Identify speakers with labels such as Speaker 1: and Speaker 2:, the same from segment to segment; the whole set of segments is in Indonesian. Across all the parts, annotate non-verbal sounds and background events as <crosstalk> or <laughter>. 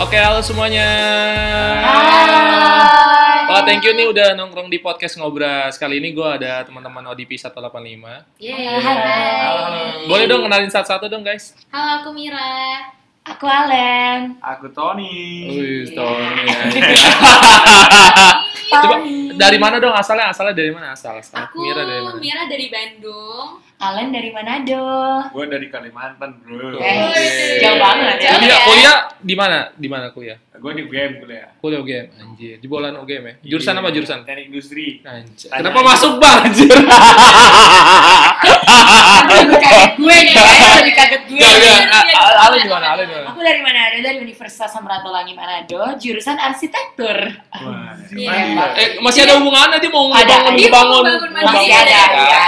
Speaker 1: Oke, halo semuanya. Wah, Oh, thank you nih udah nongkrong di podcast ngobras. Kali ini gue ada teman-teman ODP 185.
Speaker 2: Yeay.
Speaker 3: Hai.
Speaker 1: Boleh dong kenalin satu-satu dong, guys.
Speaker 2: Halo, aku Mira.
Speaker 3: Aku Alen.
Speaker 4: Aku Tony.
Speaker 1: Wih,
Speaker 3: Iya.
Speaker 1: Tony. Coba dari mana dong asalnya? Asalnya dari mana asal? asal.
Speaker 2: Aku
Speaker 1: Mira dari mana?
Speaker 2: Mira dari Bandung.
Speaker 3: Alen dari Manado.
Speaker 4: Gue dari Kalimantan, bro.
Speaker 1: Oke.
Speaker 3: Eh, jauh banget, jauh
Speaker 1: Kuliah,
Speaker 2: ya.
Speaker 1: kuliah di mana? Di mana kuliah?
Speaker 4: Gue di game kuliah.
Speaker 1: Kuliah UGM, anjir. Jebolan UGM ya? Jurusan
Speaker 4: Iya,
Speaker 1: apa jurusan?
Speaker 4: Teknik
Speaker 1: <laughs>
Speaker 4: industri.
Speaker 1: Anjir.
Speaker 4: Tanya.
Speaker 1: Kenapa masuk bang, anjir? iya,
Speaker 3: Lebih kaget gue nih, kayaknya lebih kaget gue.
Speaker 1: Gak, gak.
Speaker 2: Iya,
Speaker 1: A-
Speaker 2: iya.
Speaker 1: Ale gimana? Ale gimana?
Speaker 3: Aku dari Manado, dari Universitas Samratulangi Manado, jurusan arsitektur.
Speaker 4: Wah,
Speaker 2: Iya.
Speaker 4: keren ya.
Speaker 1: Eh, masih ada hubungannya dia mau
Speaker 3: Ada,
Speaker 1: ngebangun,
Speaker 3: dia
Speaker 1: dibangun.
Speaker 2: bangun
Speaker 3: Masih
Speaker 2: mandiri.
Speaker 3: ada,
Speaker 2: Iya.
Speaker 3: ya.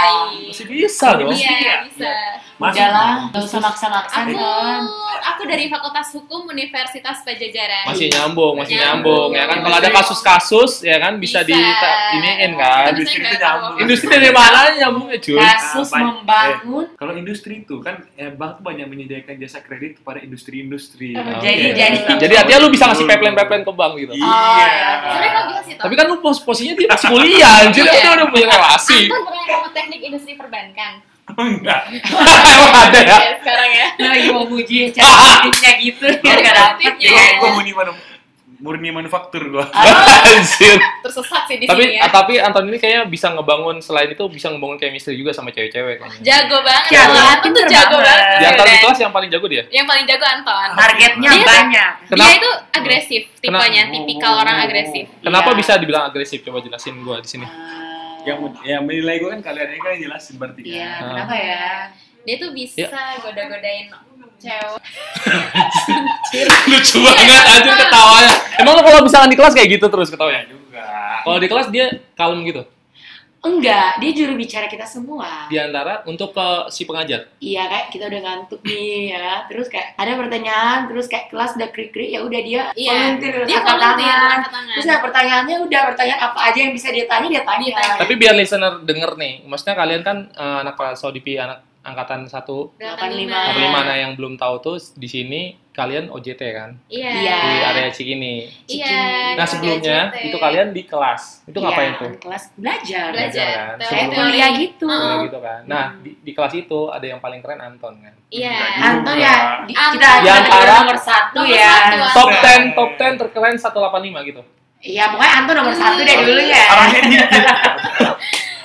Speaker 1: Masih bisa dong.
Speaker 2: Iya, bisa.
Speaker 4: Masih-
Speaker 3: Udah lah, gak usah maksa-maksa
Speaker 2: Aku
Speaker 3: dong.
Speaker 2: aku dari Fakultas Hukum Universitas Pajajaran.
Speaker 1: Masih nyambung, masih
Speaker 2: Nyambung.
Speaker 1: nyambung ya kan. Kalau ada kasus-kasus ya kan bisa, di
Speaker 2: Bisa.
Speaker 1: iniin kan.
Speaker 2: Tapi
Speaker 4: Industri itu
Speaker 2: saya nggak tahu.
Speaker 4: nyambung.
Speaker 1: Industri dari mana nyambungnya cuy?
Speaker 3: Nah. Kasus
Speaker 4: Apa-
Speaker 3: membangun.
Speaker 4: Eh, kalau industri itu kan eh, bank tuh banyak menyediakan jasa kredit kepada industri-industri.
Speaker 3: Oh,
Speaker 4: Oke.
Speaker 3: jadi- jadi.
Speaker 1: Iya. Jadi artinya lu bisa ngasih pipeline-pipeline ke bank gitu.
Speaker 4: Iya.
Speaker 3: Oh, iya.
Speaker 2: Sebenarnya kalau gimana sih, Tom?
Speaker 1: Tapi kan lu pos posisinya dia masih kuliah, anjir
Speaker 2: Iya.
Speaker 1: dia udah punya relasi.
Speaker 2: Anton pernah kamu teknik industri perbankan?
Speaker 4: Enggak.
Speaker 1: <laughs> Emang <laughs> ada ya?
Speaker 2: Iya, sekarang ya.
Speaker 3: Lu lagi mau muji cara aktifnya gitu, biar gak dapet
Speaker 2: Iya.
Speaker 3: ya.
Speaker 4: Gua- gua murni manu- murni manufaktur gua.
Speaker 3: Ah.
Speaker 1: Anjir.
Speaker 2: Tersesat sih di
Speaker 1: Tapi ah,
Speaker 2: sini ya.
Speaker 1: tapi Anton ini kayaknya bisa ngebangun selain itu bisa ngebangun chemistry juga sama cewek-cewek kayaknya.
Speaker 2: Jago banget.
Speaker 3: Jago,
Speaker 2: loh. Anton tuh
Speaker 3: pinter
Speaker 2: jago
Speaker 3: banget. Ah,
Speaker 2: banget.
Speaker 1: Di antara
Speaker 2: Dan
Speaker 1: kelas yang paling jago dia.
Speaker 2: Yang paling jago Anton.
Speaker 3: Targetnya
Speaker 2: Iya.
Speaker 3: banyak.
Speaker 2: Dia
Speaker 1: Kenapa-
Speaker 2: itu agresif, tipenya,
Speaker 4: Kenapa-
Speaker 2: tipikal
Speaker 1: Oh.
Speaker 2: orang agresif.
Speaker 1: Kenapa
Speaker 3: Iya. Ah.
Speaker 1: bisa dibilang agresif? Coba jelasin gua di sini.
Speaker 4: Yang yang menilai gua kan kalian kan yang jelasin berarti kan.
Speaker 1: Ah.
Speaker 3: Iya, kenapa ya?
Speaker 2: Dia tuh bisa
Speaker 1: Iya.
Speaker 2: goda-godain cewek.
Speaker 1: <laughs> Lucu banget anjir ketawanya. Emang lu kalau misalkan di kelas kayak gitu terus ketawanya?
Speaker 4: Enggak Iya juga.
Speaker 1: Kalau di kelas dia kalem gitu.
Speaker 3: Enggak, dia juru bicara kita semua.
Speaker 1: Di antara untuk ke si pengajar.
Speaker 3: Iya kayak kita udah ngantuk nih ya. Terus kayak ada pertanyaan, terus kayak kelas udah krik-krik ya udah dia
Speaker 2: Iya,
Speaker 3: volunteer
Speaker 2: dia
Speaker 3: angkat
Speaker 2: volunteer,
Speaker 3: tangan.
Speaker 2: angkat tangan.
Speaker 3: Terus ada pertanyaannya udah pertanyaan apa aja yang bisa dia tanya dia tanya.
Speaker 2: Ditanya.
Speaker 1: Tapi biar listener denger nih, maksudnya kalian kan eh, anak Saudi anak angkatan 1 85
Speaker 3: Ah.
Speaker 1: nah yang belum tahu tuh di sini kalian OJT kan
Speaker 2: Iya.
Speaker 3: Iya.
Speaker 1: di area Cikini.
Speaker 2: Iya.
Speaker 1: Nah, sebelumnya
Speaker 2: OJT.
Speaker 1: itu kalian di kelas. Itu
Speaker 3: Iya,
Speaker 1: ngapain tuh?
Speaker 3: Kelas belajar.
Speaker 1: Belajar.
Speaker 2: belajar.
Speaker 1: kan?
Speaker 2: teori.
Speaker 3: Kayak
Speaker 1: Sebelum-
Speaker 3: kuliah gitu.
Speaker 1: Kayak
Speaker 2: Heeh.
Speaker 1: gitu kan. Nah, di, di kelas itu ada yang paling keren Anton kan.
Speaker 2: Iya.
Speaker 3: Anton ya, di- kita
Speaker 2: Anton.
Speaker 3: kita
Speaker 1: Yang
Speaker 3: negara
Speaker 1: parah.
Speaker 3: nomor satu
Speaker 2: Nomor
Speaker 3: ya.
Speaker 2: satu.
Speaker 1: Top 10 top 10 terkeren 185 gitu.
Speaker 3: Iya, pokoknya Anton
Speaker 2: Hmm.
Speaker 3: nomor satu deh dulu ya.
Speaker 4: Arahnya dikit.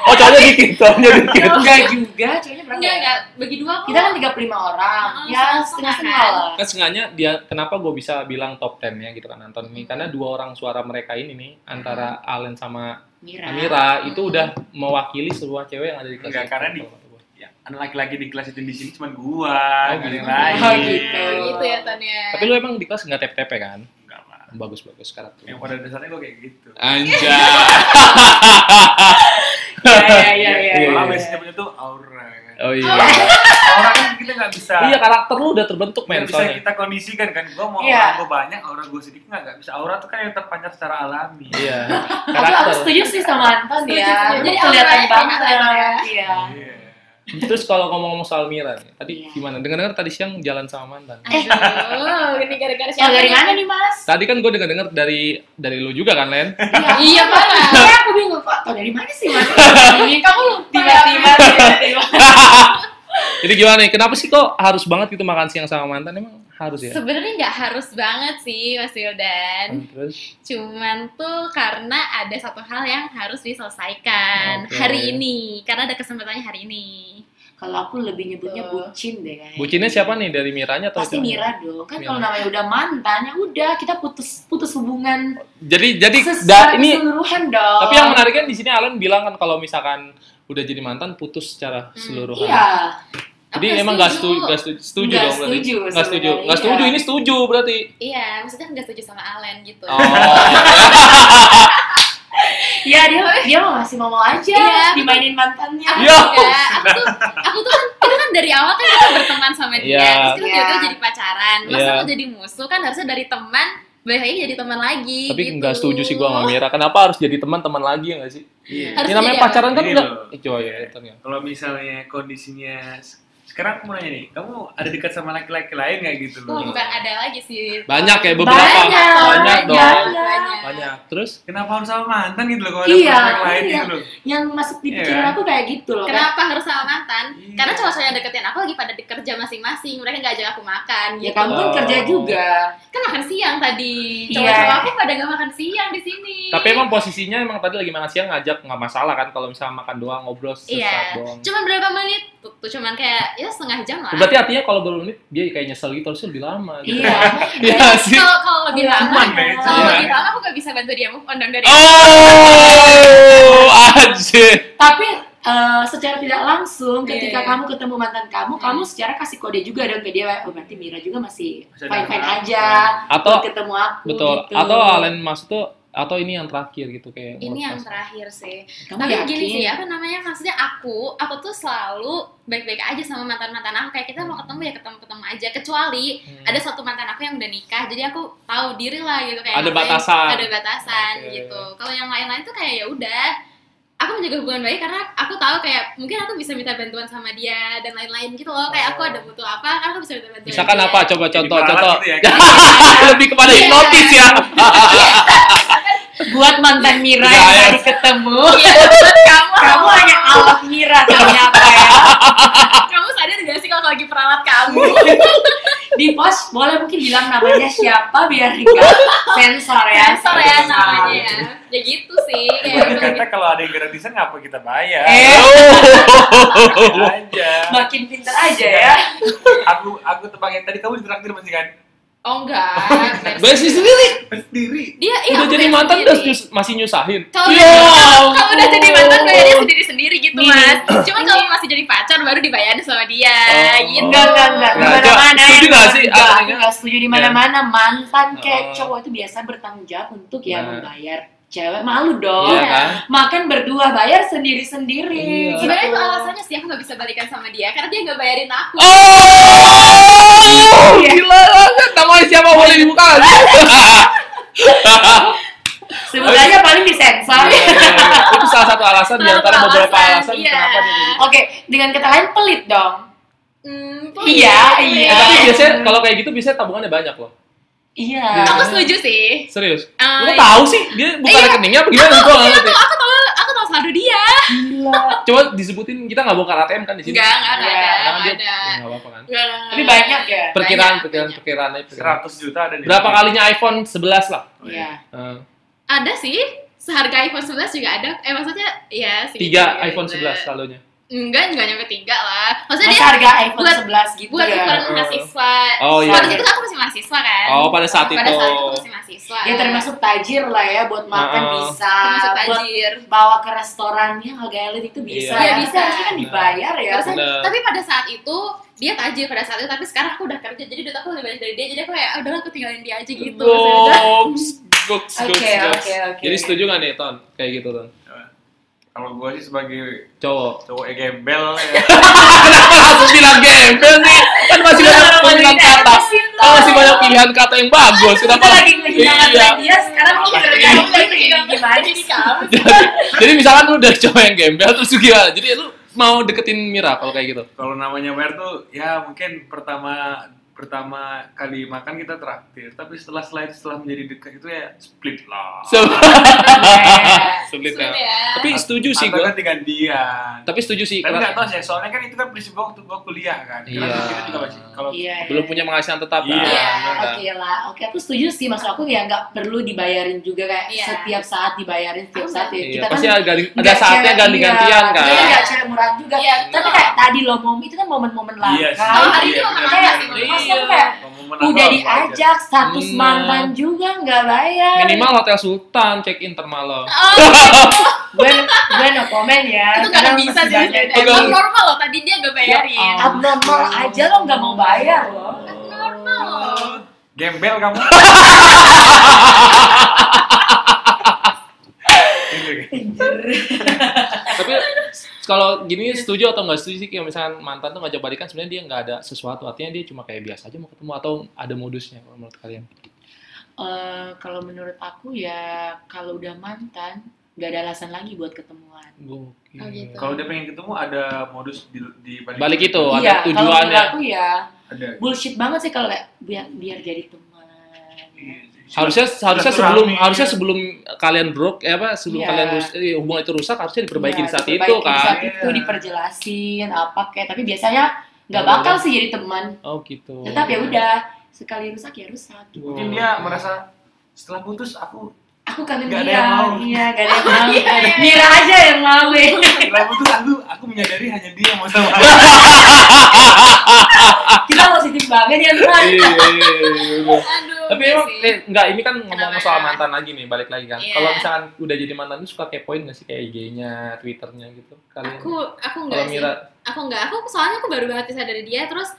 Speaker 1: Oh, cowoknya dikit, cowoknya dikit.
Speaker 3: Enggak gitu. juga, ceweknya
Speaker 2: Enggak,
Speaker 3: berapa?
Speaker 2: Oh,
Speaker 3: ya?
Speaker 2: enggak. Bagi dua kok.
Speaker 3: Kita kan 35 orang.
Speaker 2: Heeh,
Speaker 3: Ya,
Speaker 2: setengah-setengah
Speaker 3: setengah-setengah lah.
Speaker 1: kan sengaja dia kenapa gue bisa bilang top 10 ya gitu kan Anton ini karena dua orang suara mereka ini nih antara Allen sama
Speaker 3: Mira. Iya,
Speaker 1: Amira itu udah mewakili sebuah cewek yang ada di kelas
Speaker 4: Enggak,
Speaker 1: itu.
Speaker 4: karena di- <laughs> Ya, anak laki-laki di kelas itu di sini cuma gua,
Speaker 1: Oh,
Speaker 4: nggak ada yang
Speaker 1: gitu.
Speaker 4: lain.
Speaker 3: Oh, gitu.
Speaker 2: gitu ya, Tania.
Speaker 1: tapi lu emang di kelas nggak tep tepe kan
Speaker 4: Enggak lah.
Speaker 1: bagus bagus karakter
Speaker 4: Yang pada dasarnya gua kayak gitu.
Speaker 1: Ah, anjay
Speaker 3: Iya, iya, iya.
Speaker 1: <laughs> Iya,
Speaker 4: Malah
Speaker 1: iya.
Speaker 4: biasanya punya tuh aura. kan.
Speaker 1: oh iya
Speaker 4: Aura kan kita nggak bisa.
Speaker 1: iya karakter lu udah terbentuk
Speaker 4: nggak
Speaker 1: men
Speaker 4: bisa
Speaker 1: soalnya
Speaker 4: kita kondisikan kan. Gua mau
Speaker 3: Iya.
Speaker 4: aura gua banyak, aura gua sedikit nggak nggak bisa. Aura tuh kan yang terpancar secara alami. <laughs>
Speaker 1: iya
Speaker 3: Tapi aku
Speaker 1: karakter
Speaker 3: setuju sih sama Anton
Speaker 2: Setuju,
Speaker 3: ya.
Speaker 2: setuju.
Speaker 3: Jadi
Speaker 2: Jadi
Speaker 3: kelihatan
Speaker 2: auranya
Speaker 3: banget
Speaker 2: kelihatan ya.
Speaker 3: Iya.
Speaker 4: Iya.
Speaker 1: terus kalau ngomong-ngomong soal Mira nih, tadi
Speaker 3: Iya.
Speaker 1: gimana dengar dengar tadi siang jalan sama mantan
Speaker 2: Aduh,
Speaker 3: <laughs>
Speaker 2: ini gara-gara
Speaker 3: Oh,
Speaker 2: siapa?
Speaker 3: dari
Speaker 2: nih?
Speaker 3: mana nih, <laughs> Mas?
Speaker 1: tadi kan gue dengar dengar dari dari lu juga kan Len
Speaker 2: Iya, parah.
Speaker 3: Iya, aku bingung kok. Tau dari mana sih, Mas? Ini
Speaker 2: Kamu lupa.
Speaker 3: <laughs>
Speaker 2: ya,
Speaker 3: tiba-tiba tiba-tiba.
Speaker 1: Jadi gimana nih? Kenapa sih kok harus banget gitu makan siang sama mantan? Emang harus ya? Kan, Hmm.
Speaker 2: Sebenarnya nggak harus banget sih, Mas Wildan.
Speaker 1: Terus
Speaker 2: Cuman tuh karena ada satu hal yang harus diselesaikan
Speaker 1: Oke.
Speaker 2: hari ini, karena ada kesempatannya hari ini.
Speaker 3: <laughs> Kalau aku lebih nyebutnya
Speaker 2: Tuh.
Speaker 3: bucin deh kayaknya.
Speaker 1: bucinnya siapa nih dari Miranya atau
Speaker 3: Pasti
Speaker 1: siapa?
Speaker 3: Mira dong. Kan
Speaker 1: Mira.
Speaker 3: kalau namanya udah mantan, ya udah kita putus putus hubungan
Speaker 1: Jadi jadi da-
Speaker 3: secara
Speaker 1: ini
Speaker 3: keseluruhan dong.
Speaker 1: tapi yang menarik kan di sini Alan bilang kan kalau misalkan udah jadi mantan putus secara keseluruhan.
Speaker 3: Iya.
Speaker 1: Jadi
Speaker 2: Aku
Speaker 1: emang nggak setuju, nggak setuju, setuju
Speaker 3: Nggak
Speaker 1: dong berarti.
Speaker 3: setuju
Speaker 1: Nggak setuju,
Speaker 3: sebenarnya,
Speaker 1: nggak setuju.
Speaker 3: iya.
Speaker 1: Ini setuju berarti.
Speaker 2: Iya, maksudnya nggak setuju sama Alen gitu.
Speaker 1: Oh,
Speaker 3: Iya, dia dia mau masih mau
Speaker 2: Iya.
Speaker 3: aja Ah, dimainin mantannya.
Speaker 2: Aku
Speaker 1: Yo.
Speaker 2: juga, aku tuh, aku tuh kan, kita kan dari awal kan kita berteman sama dia,
Speaker 1: Iya.
Speaker 2: terus kita
Speaker 3: Iya.
Speaker 2: tiba-tiba jadi pacaran, masa
Speaker 1: Iya.
Speaker 2: mau jadi musuh kan harusnya dari teman, balik lagi jadi teman lagi.
Speaker 1: tapi
Speaker 2: gitu.
Speaker 1: nggak setuju sih gua sama Mira. Kenapa harus jadi teman-teman lagi ya nggak sih?
Speaker 4: Iya.
Speaker 2: Harus
Speaker 3: ya.
Speaker 1: Ini namanya
Speaker 2: jadi apa?
Speaker 1: pacaran kan
Speaker 4: Ini
Speaker 3: Iya.
Speaker 1: udah.
Speaker 4: loh.
Speaker 1: Eh, coy, ya, ternyata.
Speaker 4: Kalau misalnya kondisinya Sekarang aku mau nanya nih, kamu ada dekat sama laki-laki lain nggak gitu
Speaker 2: Oh,
Speaker 4: loh?
Speaker 2: bukan ada lagi sih.
Speaker 1: Banyak ya beberapa.
Speaker 3: Banyak,
Speaker 1: Banyak dong.
Speaker 2: Banyak.
Speaker 1: Banyak. Terus
Speaker 4: Kenapa harus sama mantan gitu loh? Kalau ada
Speaker 3: Iya,
Speaker 4: prospek lain
Speaker 3: iya.
Speaker 4: gitu loh.
Speaker 3: Yang masuk di
Speaker 4: Iya
Speaker 3: pikiran
Speaker 4: kan?
Speaker 3: aku kayak gitu loh. Kayak,
Speaker 2: Kenapa harus sama mantan?
Speaker 4: Iya.
Speaker 2: Karena cowok-cowok yang deketin aku lagi pada di kerja masing-masing. Mereka nggak ajak aku makan.
Speaker 3: Ya
Speaker 2: Gitu.
Speaker 3: kamu kan
Speaker 1: Oh.
Speaker 3: kerja juga.
Speaker 2: Kan makan siang tadi.
Speaker 3: Iya.
Speaker 2: Cowok-cowok aku pada nggak makan siang di sini.
Speaker 1: tapi emang posisinya emang tadi lagi makan siang ngajak nggak masalah kan kalau misalnya makan doang ngobrol sesaat
Speaker 2: Iya.
Speaker 1: doang.
Speaker 2: Cuman berapa menit? Tuh, tuh, cuman kayak ya setengah jam lah.
Speaker 1: Berarti artinya kalau baru menit dia kayak nyesel gitu harusnya lebih lama gitu.
Speaker 3: Iya.
Speaker 1: <laughs> Iya sih.
Speaker 2: Kalau kalau lebih lama,
Speaker 4: Aman, Beh.
Speaker 2: kalau
Speaker 1: Iya.
Speaker 2: lebih lama aku nggak bisa bantu dia move on dong dari.
Speaker 1: Oh, anjir.
Speaker 3: Tapi eh, secara tidak langsung
Speaker 2: Iya.
Speaker 3: ketika
Speaker 2: Hmm.
Speaker 3: kamu ketemu mantan kamu, kamu secara kasih kode juga dong ke dia. Oh berarti Mira juga masih
Speaker 4: Masih ada
Speaker 3: fine-fine
Speaker 4: apa?
Speaker 3: aja. buat
Speaker 1: Atau
Speaker 3: ketemu aku
Speaker 1: betul.
Speaker 3: gitu.
Speaker 1: Atau Alen maksud tuh atau ini yang terakhir gitu kayak.
Speaker 2: Ini
Speaker 1: menurut
Speaker 2: yang
Speaker 1: Mas.
Speaker 2: terakhir sih.
Speaker 3: Kamu
Speaker 2: Tapi
Speaker 3: yakin?
Speaker 2: gini sih, ya. apa namanya? Maksudnya aku, aku tuh selalu baik-baik aja sama mantan-mantan aku. Kayak kita mau ketemu ya ketemu-ketemu aja. Kecuali
Speaker 1: Hmm.
Speaker 2: ada satu mantan aku yang udah nikah, jadi aku tahu diri lah gitu kayak.
Speaker 1: Ada
Speaker 2: ngapain-
Speaker 1: batasan.
Speaker 2: Ada batasan
Speaker 1: Oke.
Speaker 2: gitu. Kalau yang lain-lain tuh kayak ya udah. Aku menjaga hubungan baik karena aku tahu kayak mungkin aku bisa minta bantuan sama dia dan lain-lain gitu loh. Kayak aku
Speaker 1: Oh.
Speaker 2: ada butuh apa, kan aku bisa minta bantuan.
Speaker 1: Misalkan
Speaker 2: dia.
Speaker 1: apa? Coba
Speaker 4: Jadi
Speaker 1: contoh,
Speaker 4: perawat
Speaker 1: contoh.
Speaker 4: gitu
Speaker 1: <laughs>
Speaker 4: ya.
Speaker 1: Lebih kepada
Speaker 2: Iya.
Speaker 1: hipnotis ya.
Speaker 3: buat mantan Mira
Speaker 1: Iya,
Speaker 3: yang
Speaker 1: iya.
Speaker 3: tadi ketemu,
Speaker 2: Iya, buat kamu.
Speaker 3: kamu hanya awak Mira ternyata ya.
Speaker 2: Kamu sadar gak sih kalau aku lagi perawat <laughs> kamu?
Speaker 3: Di post boleh mungkin bilang namanya siapa biar enggak sensor
Speaker 1: Iya,
Speaker 3: ya.
Speaker 2: Sensor ya namanya ya. Ya gitu sih. Kayak
Speaker 4: Ibarat
Speaker 2: gitu.
Speaker 4: kata Iya, kalau ada yang gratisan ngapa kita bayar? Iya,
Speaker 3: Eh.
Speaker 2: ya.
Speaker 1: Oh.
Speaker 2: <laughs>
Speaker 4: aja.
Speaker 3: Makin pintar aja ya.
Speaker 4: Aku aku tebak yang tadi kamu ditraktir masih kan?
Speaker 2: Oh enggak.
Speaker 1: <laughs> Besi sendiri
Speaker 4: Sendiri.
Speaker 2: Dia iya,
Speaker 1: udah
Speaker 2: aku
Speaker 1: jadi
Speaker 2: bayar
Speaker 1: mantan
Speaker 2: sendiri.
Speaker 1: udah nyus- masih nyusahin.
Speaker 2: Kalau
Speaker 1: Ya
Speaker 2: kalau- kalau udah jadi mantan
Speaker 1: ampun.
Speaker 2: bayarnya sendiri-sendiri gitu
Speaker 3: Gini.
Speaker 1: <clears throat>
Speaker 2: mas. Cuma kalau masih jadi pacar baru dibayarin sama dia
Speaker 1: Oh.
Speaker 2: gitu.
Speaker 3: Enggak, enggak, enggak. Di
Speaker 1: Nah,
Speaker 3: mana mana
Speaker 1: setuju nggak sih? Ah,
Speaker 3: Aku nggak setuju di mana mana mantan
Speaker 1: Oh.
Speaker 3: kayak cowok itu biasa bertanggung jawab untuk ya
Speaker 1: Nah.
Speaker 3: membayar cewek
Speaker 2: Oh.
Speaker 3: malu dong.
Speaker 1: Iya kan?
Speaker 3: Makan berdua bayar
Speaker 1: Iya.
Speaker 3: sendiri-sendiri. Gitu.
Speaker 2: Sebenarnya itu alasannya sih aku gak bisa balikan sama dia karena dia gak bayarin aku.
Speaker 1: Oh,
Speaker 3: Iya.
Speaker 1: gila banget. Namanya siapa boleh dibuka?
Speaker 3: Sebenarnya paling disensor.
Speaker 1: Iya. Itu salah satu alasan di
Speaker 2: Salah
Speaker 1: antara
Speaker 2: satu
Speaker 1: beberapa
Speaker 2: alasan,
Speaker 1: alasan
Speaker 2: iya.
Speaker 1: kenapa dia jadi-
Speaker 3: Oke, dengan kata lain pelit dong.
Speaker 2: Hmm,
Speaker 3: Iya,
Speaker 2: boleh.
Speaker 3: iya.
Speaker 1: Eh, Tapi biasanya kalau kayak gitu biasanya tabungannya banyak loh.
Speaker 3: Iya.
Speaker 2: Aku setuju sih.
Speaker 1: Serius.
Speaker 2: Eh,
Speaker 1: ya. Lu tahu sih dia buka
Speaker 2: Iya.
Speaker 1: rekeningnya apa gimana gua nggak ngerti.
Speaker 2: Aku tahu aku tahu saldo dia.
Speaker 3: Gila.
Speaker 1: Coba disebutin kita nggak bongkar ATM kan di sini.
Speaker 2: Enggak, enggak
Speaker 3: Iya,
Speaker 2: ada,
Speaker 1: Karena
Speaker 2: enggak
Speaker 1: dia-
Speaker 2: ada.
Speaker 1: ya, nggak apa-apa kan.
Speaker 2: Enggak, enggak,
Speaker 3: Tapi
Speaker 2: enggak.
Speaker 3: banyak ya?
Speaker 1: Perkiraan,
Speaker 2: Banyak,
Speaker 1: perkiraan,
Speaker 2: banyak.
Speaker 1: perkiraan. aja, perkiraan.
Speaker 4: 100 juta ada nih.
Speaker 1: Berapa kalinya iPhone 11 lah?
Speaker 3: Iya.
Speaker 1: Eh,
Speaker 2: Ada sih. Seharga iPhone 11 juga ada. Eh maksudnya ya sih.
Speaker 1: tiga iPhone 11 saldonya.
Speaker 2: Enggak, enggak nyampe tiga lah. Maksudnya
Speaker 3: Masa
Speaker 2: dia
Speaker 3: harga iPhone
Speaker 2: buat-
Speaker 3: 11 gitu
Speaker 2: buat
Speaker 3: ya.
Speaker 2: ukuran
Speaker 1: Heeh.
Speaker 2: mahasiswa.
Speaker 1: Oh iya.
Speaker 2: Pada
Speaker 3: Iya.
Speaker 2: itu kan aku masih mahasiswa kan.
Speaker 1: Oh, pada saat
Speaker 2: Pada
Speaker 1: itu.
Speaker 2: saat itu aku masih mahasiswa.
Speaker 3: Ya termasuk tajir lah ya buat makan
Speaker 1: Heeh.
Speaker 3: bisa.
Speaker 2: termasuk
Speaker 3: Buat
Speaker 2: tajir.
Speaker 3: bawa ke restorannya harga elit itu
Speaker 1: Iya.
Speaker 3: bisa. ya
Speaker 2: Iya, bisa.
Speaker 3: Harusnya kan dibayar ya.
Speaker 2: Terus,
Speaker 1: Bener.
Speaker 2: tapi pada saat itu dia tajir pada saat itu tapi sekarang aku udah kerja jadi duit aku lebih banyak dari dia jadi aku kayak "Ah, udahlah aku tinggalin dia aja gitu maksudnya.
Speaker 1: Goks, goks,
Speaker 3: Oke,
Speaker 1: goks, goks.
Speaker 3: oke, oke.
Speaker 1: Jadi setuju gak nih, Ton? Kayak gitu, Ton.
Speaker 4: Kalau gue sih sebagai
Speaker 1: <laughs> Cowok.
Speaker 4: cowok yang gembel
Speaker 1: <laughs>
Speaker 4: ya.
Speaker 1: Ah, Kenapa langsung bilang gembel sih? Kan masih
Speaker 3: Kita
Speaker 1: banyak
Speaker 3: orang
Speaker 1: pilihan
Speaker 3: wanita
Speaker 1: kata.
Speaker 3: aja sih,
Speaker 1: Kan masih
Speaker 3: gitu, Ton.
Speaker 1: banyak pilihan kata yang bagus. Kenapa?
Speaker 3: Kita iya. lagi kehilangan
Speaker 1: Iya.
Speaker 3: dia, sekarang mau
Speaker 2: Iya,
Speaker 3: kerja
Speaker 2: iya.
Speaker 3: udah kayak gimana
Speaker 2: Jadi
Speaker 3: sih? Iya,
Speaker 2: kamu
Speaker 1: <laughs>
Speaker 2: sih.
Speaker 1: Jadi misalkan lu udah cowok yang gembel terus gimana? Jadi lu mau deketin Mira kalau kayak gitu.
Speaker 4: Kalau namanya bayar tuh ya mungkin pertama pertama kali makan kita traktir, tapi setelah selain setelah menjadi dekat itu ya split lah.
Speaker 1: So, sulit
Speaker 2: Sulit
Speaker 1: ya.
Speaker 2: ya.
Speaker 1: Tapi setuju sih
Speaker 4: Atau
Speaker 1: gue.
Speaker 4: ganti gantian.
Speaker 1: Tapi setuju sih.
Speaker 4: kan? Tapi nggak
Speaker 1: karena
Speaker 4: tahu sih, soalnya kan itu kan prinsip gua waktu gua kuliah kan. Karena
Speaker 1: Iya.
Speaker 4: kita juga masih kalau
Speaker 3: Iya.
Speaker 1: belum punya penghasilan tetap.
Speaker 4: Iya,
Speaker 1: kan?
Speaker 3: Iya,
Speaker 1: Bener kan?
Speaker 3: oke lah. Oke, aku setuju sih. Maksud aku ya nggak perlu dibayarin juga kayak
Speaker 2: Iya.
Speaker 3: setiap saat dibayarin setiap
Speaker 2: Aku
Speaker 3: saat. Ya.
Speaker 1: Iya,
Speaker 3: Kita
Speaker 1: pasti
Speaker 3: kan
Speaker 1: ada, ganti- ada
Speaker 3: nggak
Speaker 1: saatnya
Speaker 3: cewek-
Speaker 1: ganti-gantian
Speaker 3: iya,
Speaker 1: kan.
Speaker 3: Kita nggak cewek murah juga.
Speaker 2: Iya,
Speaker 3: Tapi
Speaker 2: betul.
Speaker 3: kayak tadi lo mom itu kan momen-momen langka.
Speaker 4: Iya sih.
Speaker 3: Oh,
Speaker 2: Kalau hari ini
Speaker 4: Iya,
Speaker 2: momen
Speaker 4: benar.
Speaker 2: apa
Speaker 4: Iya.
Speaker 2: sih? Maksudnya aku kayak,
Speaker 3: kayak ya? udah diajak status
Speaker 1: Bener.
Speaker 3: mantan juga nggak bayar
Speaker 1: Hmm. Minimal hotel Sultan check in termalam.
Speaker 3: Oh. gue gue no comment ya
Speaker 2: itu gak
Speaker 3: Karena
Speaker 2: bisa sih
Speaker 3: masih banyak
Speaker 2: sebenarnya.
Speaker 1: Pegang.
Speaker 2: Emang normal loh tadi dia gak bayarin.
Speaker 1: Ya
Speaker 3: abnormal aja lo nggak mau bayar lo
Speaker 2: Normal loh.
Speaker 4: Gembel kamu. Gitu kan.
Speaker 1: <laughs> Tapi kalau gini setuju atau nggak setuju sih kayak misalkan mantan tuh ngajak balikan sebenarnya dia nggak ada sesuatu artinya dia cuma kayak biasa aja mau ketemu atau ada modusnya kalau menurut kalian.
Speaker 3: Eh, kalau menurut aku ya kalau udah mantan nggak ada alasan lagi buat ketemuan
Speaker 1: Gokil.
Speaker 2: Oh, gitu.
Speaker 4: <laughs> Kalau dia pengen ketemu ada modus di, di balik,
Speaker 1: Balik itu ada
Speaker 3: iya kalau menurut
Speaker 1: tujuannya.
Speaker 3: aku ya
Speaker 4: Ada.
Speaker 3: bullshit banget sih kalau kayak biar biar jadi teman
Speaker 4: Iya,
Speaker 3: ya.
Speaker 1: Harusnya harusnya
Speaker 4: Silaturahmi.
Speaker 1: sebelum harusnya sebelum kalian broke eh, apa sebelum
Speaker 3: Iya.
Speaker 1: kalian rus- eh, hubungan itu rusak harusnya diperbaiki
Speaker 3: Iya,
Speaker 1: di saat itu
Speaker 3: diperbaiki di
Speaker 1: kan.
Speaker 3: saat itu
Speaker 4: Iya.
Speaker 3: diperjelasin apa kayak tapi biasanya nggak
Speaker 1: Nggak
Speaker 3: bakal
Speaker 1: ada.
Speaker 3: sih jadi teman
Speaker 1: Oh gitu.
Speaker 3: tetap ya udah sekali rusak ya rusak gitu.
Speaker 4: Mungkin dia merasa setelah putus aku
Speaker 3: aku kangen
Speaker 4: Nggak ada
Speaker 3: dia
Speaker 4: yang mau.
Speaker 3: iya
Speaker 2: <laughs>
Speaker 3: gak ada yang mau
Speaker 2: Iya, iya, iya.
Speaker 3: Mira aja yang mau ya.
Speaker 4: setelah putus aku aku menyadari hanya dia yang mau sama aku.
Speaker 1: <laughs>
Speaker 3: kita positif banget ya Mira
Speaker 1: Iya, iya, iya, iya.
Speaker 2: Aduh.
Speaker 1: Tapi
Speaker 2: iya
Speaker 1: emang
Speaker 2: sih.
Speaker 1: eh, enggak ini kan ngomong
Speaker 2: Kenapa? ya?
Speaker 1: soal mantan lagi nih, balik lagi kan.
Speaker 2: Iya.
Speaker 1: Kalau misalkan udah jadi mantan tuh suka kepoin nggak sih kayak IG-nya, Twitter-nya gitu kalian?
Speaker 2: aku aku
Speaker 1: kalau
Speaker 2: enggak sih.
Speaker 1: Mira
Speaker 2: Aku enggak. Aku soalnya aku baru banget bisa dari dia terus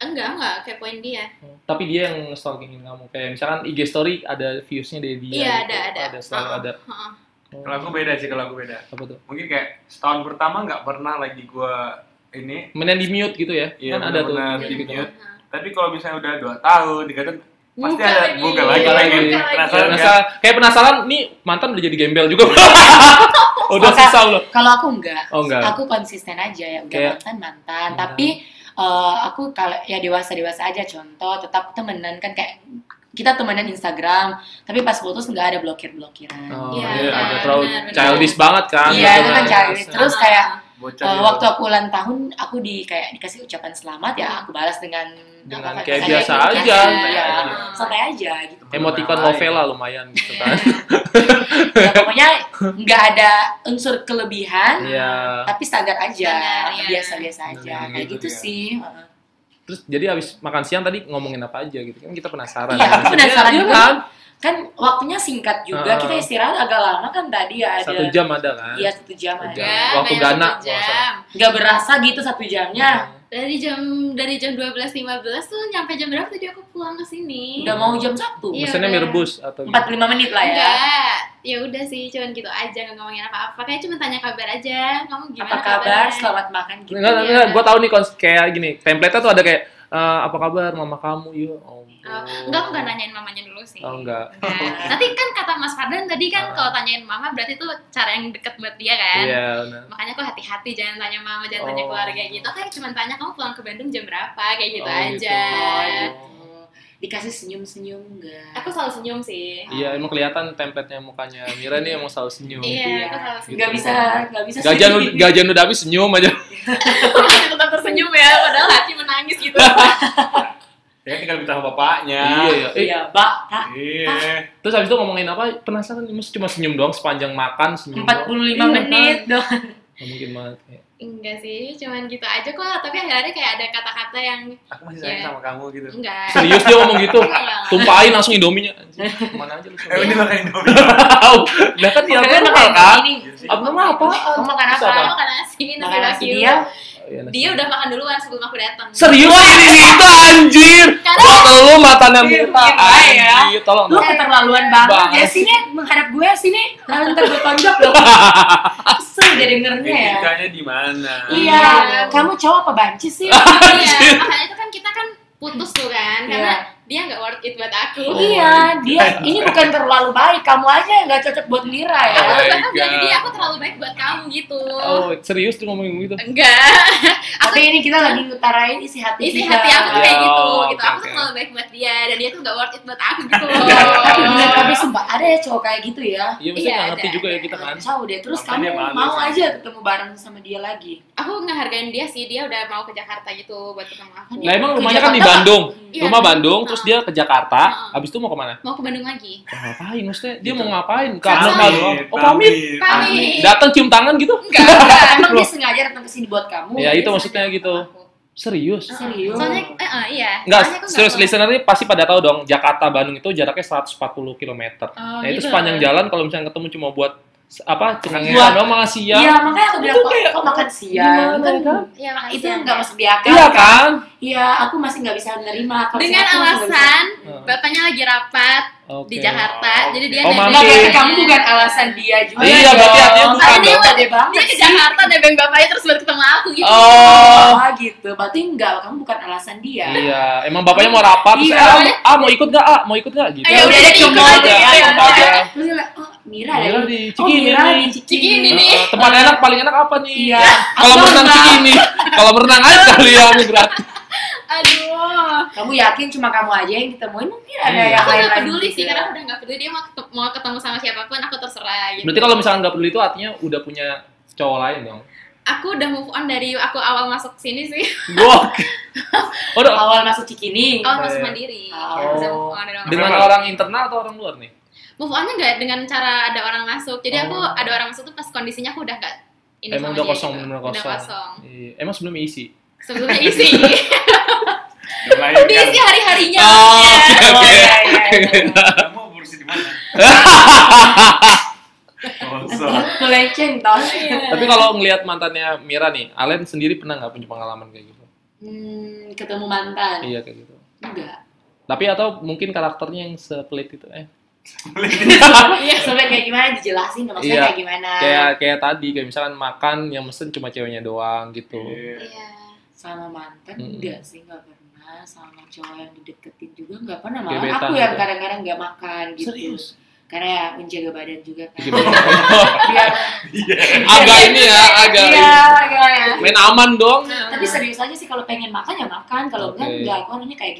Speaker 2: enggak enggak kepoin dia.
Speaker 1: hmm, tapi dia yang stalkingin kamu kayak misalkan IG story ada views-nya dari dia.
Speaker 2: Iya,
Speaker 1: gitu.
Speaker 2: ada, ada.
Speaker 1: selalu
Speaker 2: Heeh,
Speaker 1: ada. Oh,
Speaker 2: heeh.
Speaker 4: Kalau aku beda sih kalau aku beda.
Speaker 1: apa tuh?
Speaker 4: Mungkin kayak setahun pertama nggak pernah lagi gua ini.
Speaker 1: Menen di mute gitu ya?
Speaker 4: Iya,
Speaker 1: kan ada tuh.
Speaker 4: benar-benar
Speaker 1: mute
Speaker 4: di
Speaker 1: gitu.
Speaker 4: mute.
Speaker 2: Heeh.
Speaker 4: Tapi kalau misalnya udah dua tahun, tiga tahun pasti
Speaker 2: Buka
Speaker 4: ada
Speaker 2: lagi.
Speaker 4: buka
Speaker 1: lagi,
Speaker 4: lagi
Speaker 1: Buka
Speaker 4: pengen
Speaker 1: lagi.
Speaker 4: penasaran
Speaker 1: Kayak
Speaker 4: kan?
Speaker 1: penasaran, kayak penasaran nih mantan udah jadi gembel juga. <laughs> udah
Speaker 3: Masa-
Speaker 1: susah loh.
Speaker 3: kalau aku enggak
Speaker 1: Oh enggak.
Speaker 3: aku konsisten aja ya udah
Speaker 1: Kayak- Nah.
Speaker 3: mantan mantan
Speaker 1: Mantan.
Speaker 3: tapi eh, aku kalau ya dewasa dewasa aja contoh tetap temenan kan kayak kita temenan Instagram tapi pas putus nggak ada blokir blokiran
Speaker 1: Oh,
Speaker 2: Iya,
Speaker 1: iya, agak
Speaker 2: benar,
Speaker 1: terlalu
Speaker 2: benar.
Speaker 1: childish banget kan.
Speaker 3: Iya, itu kan
Speaker 1: Benar.
Speaker 3: childish. Terus
Speaker 2: Heeh.
Speaker 3: kayak,
Speaker 4: Bocah
Speaker 3: Eh,
Speaker 4: gitu.
Speaker 3: waktu
Speaker 1: ya.
Speaker 3: aku ulang tahun aku di kayak dikasih ucapan selamat ya aku balas dengan
Speaker 1: Dengan
Speaker 3: apa,
Speaker 1: kayak
Speaker 3: kayak
Speaker 1: biasa
Speaker 3: biasa
Speaker 1: aja. Nah, iya.
Speaker 3: ya.
Speaker 2: Heeh.
Speaker 3: santai aja gitu
Speaker 1: Emoticon
Speaker 4: Teman-teman lain.
Speaker 1: novela lumayan gitu
Speaker 2: <laughs>
Speaker 1: kan.
Speaker 2: nah,
Speaker 3: Ya, pokoknya nggak ada unsur kelebihan
Speaker 1: Iya.
Speaker 3: tapi standar aja
Speaker 2: Standar, ya.
Speaker 3: biasa-biasa aja
Speaker 1: Hmm,
Speaker 4: Standar,
Speaker 3: kayak
Speaker 4: gitu
Speaker 3: gitu
Speaker 4: ya.
Speaker 3: sih Heeh.
Speaker 1: Terus jadi habis makan siang tadi ngomongin apa aja gitu kan kita penasaran.
Speaker 3: Iya, aku penasaran
Speaker 1: Iya
Speaker 3: juga.
Speaker 1: kan?
Speaker 3: kan waktunya singkat juga
Speaker 1: Heeh.
Speaker 3: kita istirahat agak lama kan tadi ya ada
Speaker 1: Satu jam ada kan?
Speaker 3: iya satu jam
Speaker 1: Satu
Speaker 3: ada
Speaker 2: Enggak,
Speaker 1: Waktu
Speaker 2: nah, kayak
Speaker 1: Ghana,
Speaker 2: satu
Speaker 1: kalau nggak
Speaker 2: jam.
Speaker 3: nggak berasa gitu satu jamnya
Speaker 2: Dari jam dari jam 12.15 tuh nyampe jam berapa tadi aku pulang ke sini?
Speaker 3: udah mau jam satu
Speaker 2: Iya.
Speaker 1: Mesennya Nah, mie
Speaker 2: udah.
Speaker 1: rebus atau
Speaker 3: empat puluh lima menit lah ya
Speaker 2: Enggak, ya udah sih, cuman gitu aja nggak ngomongin apa-apa. Kayak cuma tanya kabar aja. Kamu gimana
Speaker 3: apa kabar
Speaker 2: kabarnya?
Speaker 3: selamat makan gitu
Speaker 1: Enggak, enggak, enggak. Gue tau nih kons- kayak gini. Template-nya tuh ada kayak, eh, apa kabar mama kamu? Yo, oh,
Speaker 2: Oh, enggak, aku nggak nanyain mamanya dulu sih.
Speaker 1: Oh, enggak.
Speaker 2: Nah, Nanti kan kata Mas Fardan tadi kan
Speaker 1: Ah.
Speaker 2: kalau tanyain mama berarti itu cara yang deket buat dia kan.
Speaker 1: Iya, benar.
Speaker 2: Makanya kok hati-hati jangan tanya mama, jangan tanya
Speaker 1: Oh.
Speaker 2: keluarga gitu. Kayak cuma tanya kamu pulang ke Bandung jam berapa kayak gitu
Speaker 1: Oh, gitu.
Speaker 2: aja.
Speaker 3: Oh, dikasih senyum senyum enggak
Speaker 2: Iya. Aku selalu senyum sih.
Speaker 1: Iya, emang kelihatan template-nya mukanya Mira nih emang selalu senyum.
Speaker 2: Iya, aku selalu senyum.
Speaker 3: Gitu. nggak
Speaker 2: <laughs>
Speaker 3: bisa nggak bisa
Speaker 1: Gajian,
Speaker 3: sendiri.
Speaker 1: gajian udah habis senyum aja.
Speaker 2: tetap tersenyum ya, padahal hati menangis gitu.
Speaker 4: Ya tinggal minta sama bapaknya.
Speaker 1: Iya, iya. Eh,
Speaker 3: iya mbak tak
Speaker 4: Iya.
Speaker 1: terus habis itu ngomongin apa? Penasaran, mesti cuma senyum doang sepanjang makan, senyum doang.
Speaker 3: empat puluh lima
Speaker 1: Iya,
Speaker 3: menit dong
Speaker 1: Nggak mungkin banget. Kayak,
Speaker 2: Enggak sih, cuman gitu aja kok. Tapi akhirnya kayak ada kata-kata yang
Speaker 4: Aku masih sayang
Speaker 2: Iya.
Speaker 4: sama kamu gitu.
Speaker 2: enggak.
Speaker 1: Serius dia ngomong gitu?
Speaker 2: Enggak, enggak, enggak.
Speaker 1: Tumpahin langsung indominya. Mana aja lu
Speaker 4: Eh
Speaker 1: sama.
Speaker 4: ini makan Indomie.
Speaker 1: <laughs> Lah kan yang
Speaker 3: Makanya
Speaker 1: normal
Speaker 3: makan
Speaker 1: kan?
Speaker 3: ini.
Speaker 4: Iya sih.
Speaker 1: Abnormal apa?
Speaker 3: kamu makan
Speaker 1: Terus
Speaker 3: apa
Speaker 1: apa?
Speaker 2: Oh, Makan nasi, nasi
Speaker 3: makan nasi
Speaker 2: lagi.
Speaker 3: dia
Speaker 1: Iya, nasi.
Speaker 2: Dia udah makan duluan sebelum aku datang.
Speaker 1: Serius ini kita anjir.
Speaker 2: Karena-
Speaker 1: Foto lu matanya Mira
Speaker 3: Iya, iya.
Speaker 2: ya.
Speaker 1: anjir. Tolong
Speaker 3: lu
Speaker 1: dong.
Speaker 3: keterlaluan banget
Speaker 1: Banget.
Speaker 3: ya sini menghadap gue sini lalu ntar gue tonjok
Speaker 1: <laughs>
Speaker 3: loh kesel dia dengernya ya
Speaker 4: Etikanya "Eh, di mana?
Speaker 3: iya
Speaker 2: Iya.
Speaker 3: kamu cowok apa banci
Speaker 1: <laughs>
Speaker 3: sih
Speaker 2: Iya, makanya itu kan kita kan putus tuh kan. Karena dia nggak worth it buat aku.
Speaker 3: iya dia ini bukan terlalu baik kamu aja yang gak cocok buat Mira ya
Speaker 2: Aku
Speaker 4: my
Speaker 2: bahkan bilang ke dia
Speaker 4: God.
Speaker 2: aku terlalu baik buat kamu gitu.
Speaker 1: Iya. Oh, serius tuh ngomongin gitu.
Speaker 2: Enggak.
Speaker 3: tapi ini kita lagi ngutarain isi hati
Speaker 2: Isi
Speaker 3: kita.
Speaker 2: hati aku tuh kayak
Speaker 1: Iya, oke,
Speaker 2: gitu gitu. Aku tuh
Speaker 1: oke.
Speaker 2: terlalu baik buat dia dan dia tuh nggak worth it buat aku gitu.
Speaker 3: <laughs> tapi bener tapi sumpah ada ya cowok kayak gitu ya
Speaker 1: Iya, mesti
Speaker 2: Iya,
Speaker 1: nggak ngerti
Speaker 2: ada,
Speaker 1: juga ya
Speaker 2: ada.
Speaker 1: kita kan.
Speaker 3: tahu deh terus
Speaker 4: Makanya
Speaker 3: kamu
Speaker 4: malu
Speaker 3: mau
Speaker 4: sih.
Speaker 3: aja ketemu bareng sama dia lagi
Speaker 2: aku ngehargain dia sih dia udah mau ke Jakarta gitu buat ketemu aku
Speaker 1: Lah emang
Speaker 3: Ke
Speaker 1: rumahnya kan di
Speaker 3: Jakarta,
Speaker 1: Bandung.
Speaker 2: Iya.
Speaker 1: Rumah Bandung, terus
Speaker 2: Heeh.
Speaker 1: dia ke Jakarta,
Speaker 2: Heeh.
Speaker 1: habis itu mau kemana?
Speaker 2: mau ke Bandung lagi
Speaker 1: Mau ngapain maksudnya? Dia mau ngapain? Ke
Speaker 2: Pamit,
Speaker 1: Abnormal doang. Oh, pamit.
Speaker 2: pamit.
Speaker 1: Datang cium tangan gitu?
Speaker 2: enggak
Speaker 1: <laughs>
Speaker 3: Enggak, emang dia sengaja datang ke sini buat kamu
Speaker 1: Ya,
Speaker 3: Dia
Speaker 1: itu maksudnya
Speaker 3: sengaja
Speaker 1: gitu.
Speaker 3: sama aku.
Speaker 1: Serius?
Speaker 3: Serius?
Speaker 2: soalnya eh, eh, iya Soalnya
Speaker 1: Enggak,
Speaker 2: aku
Speaker 1: serius
Speaker 2: tahu.
Speaker 1: listenernya pasti pada tahu dong, Jakarta Bandung itu jaraknya 140 km.
Speaker 3: Oh,
Speaker 1: Nah, itu
Speaker 3: gitu.
Speaker 1: sepanjang jalan kalau misalnya ketemu cuma buat apa cengengesan
Speaker 3: Buat-
Speaker 1: doang makan
Speaker 3: Iya,
Speaker 1: siang.
Speaker 3: makanya aku bilang
Speaker 1: Itu
Speaker 3: kok,
Speaker 1: kayak-
Speaker 3: kok makan siang
Speaker 1: Gimana, kan?
Speaker 3: kan
Speaker 2: Iya, makasih
Speaker 3: itu
Speaker 2: ya.
Speaker 3: nggak masuk di akal.
Speaker 1: Iya kan?
Speaker 3: Iya, aku masih nggak bisa nerima. Kalau
Speaker 2: dengan
Speaker 3: aku masih nggak bisa-
Speaker 2: alasan bapaknya lagi rapat
Speaker 1: Nah, Oke.
Speaker 2: di Jakarta jadi dia
Speaker 1: Oh,
Speaker 2: nebeng
Speaker 3: Nggak,
Speaker 1: mampir.
Speaker 3: berarti kamu bukan alasan dia juga.
Speaker 1: Iya, berarti
Speaker 3: dong.
Speaker 1: artinya bukan
Speaker 3: Artinya
Speaker 2: dong.
Speaker 3: gede banget
Speaker 2: dia ke
Speaker 3: sih.
Speaker 2: Jakarta nebeng bapaknya terus baru ketemu aku gitu
Speaker 1: Oh.
Speaker 3: Ah, gitu. Berarti enggak, kamu bukan alasan dia.
Speaker 1: Iya, emang bapaknya mau rapat, terus,
Speaker 3: Iya.
Speaker 1: ah, mau- ah, mau ikut gak, ah, mau ikut gak, gitu.
Speaker 2: Ayo, udah ya. deh,
Speaker 1: Ikut
Speaker 2: ikut aja,
Speaker 1: aja,
Speaker 2: ayo,
Speaker 1: ikut aja.
Speaker 3: Terus dia bilang, oh Mira
Speaker 1: Mira
Speaker 3: ada
Speaker 1: di
Speaker 3: iya, Oh,
Speaker 1: Cikini
Speaker 3: Mira
Speaker 1: nih.
Speaker 3: di Cikini.
Speaker 2: Cikini nih.
Speaker 1: Eh, tempat enak, paling enak apa nih?
Speaker 3: Iya.
Speaker 1: Kalau
Speaker 3: Aku
Speaker 1: berenang
Speaker 3: enggak.
Speaker 1: Cikini. Kalau berenang
Speaker 3: <laughs>
Speaker 1: aja kali ya, aku gratis.
Speaker 2: aduh
Speaker 3: Kamu yakin cuma kamu aja yang ditemuin mungkin ada
Speaker 1: Iya.
Speaker 3: yang
Speaker 2: aku
Speaker 3: lain
Speaker 2: gak peduli sih karena aku udah gak peduli dia mau ketemu, mau ketemu sama siapapun aku terserah gitu
Speaker 1: Berarti kalau misalnya nggak peduli itu artinya udah punya cowok lain dong.
Speaker 2: aku udah move on dari aku awal masuk sini sih
Speaker 3: <laughs>
Speaker 1: Gok. Udah,
Speaker 3: awal masuk Cikini.
Speaker 2: awal masuk
Speaker 1: Iya.
Speaker 2: mandiri
Speaker 3: Oh.
Speaker 2: bisa move on dari awal.
Speaker 1: dengan
Speaker 4: Kenapa?
Speaker 1: orang internal atau orang luar nih?
Speaker 2: move onnya nggak dengan cara ada orang masuk jadi aku
Speaker 1: Oh.
Speaker 2: ada orang masuk tuh pas kondisinya aku udah nggak ini
Speaker 1: Emang
Speaker 2: sama
Speaker 1: udah
Speaker 2: dia
Speaker 1: kosong,
Speaker 2: gitu.
Speaker 1: benar-benar
Speaker 2: udah
Speaker 1: kosong.
Speaker 2: kosong
Speaker 1: Iya. Emang sebelumnya isi.
Speaker 2: sebelumnya
Speaker 1: <laughs>
Speaker 2: isi
Speaker 4: Yang lain kan,
Speaker 2: diisi hari harinya
Speaker 3: Oh, iya, iya, iya.
Speaker 1: <laughs>
Speaker 4: kamu kursi di mana? Kosong.
Speaker 3: Kuleceng tau.
Speaker 1: Tapi kalau ngelihat mantannya Mira nih, Alen sendiri pernah nggak punya pengalaman kayak gitu?
Speaker 3: Hmm, ketemu mantan.
Speaker 1: Iya kayak gitu. <laughs>
Speaker 3: Enggak.
Speaker 1: Tapi atau mungkin karakternya yang sepelit itu eh
Speaker 3: Iya, Sampai kayak gimana dijelasin maksudnya
Speaker 1: Iya.
Speaker 3: kayak gimana.
Speaker 1: kayak kayak tadi kayak misalkan makan yang mesen cuma ceweknya doang gitu.
Speaker 4: Iya.
Speaker 2: Iya.
Speaker 3: sama mantan
Speaker 1: Mm-mm.
Speaker 3: enggak sih enggak pernah sama cowok yang dideketin juga enggak pernah malah
Speaker 1: Gebetan
Speaker 3: aku yang
Speaker 1: gitu.
Speaker 3: kadang-kadang enggak makan gitu karena ya menjaga badan juga kan <laughs> Biar-
Speaker 4: Iya.
Speaker 1: agak ini ya, agak
Speaker 3: iya iya.
Speaker 1: main aman dong.
Speaker 2: Nah,
Speaker 3: tapi
Speaker 2: Iya.
Speaker 3: serius aja sih kalau pengen makan ya makan kalau enggak
Speaker 1: Oke.
Speaker 3: enggak aku orangnya kayak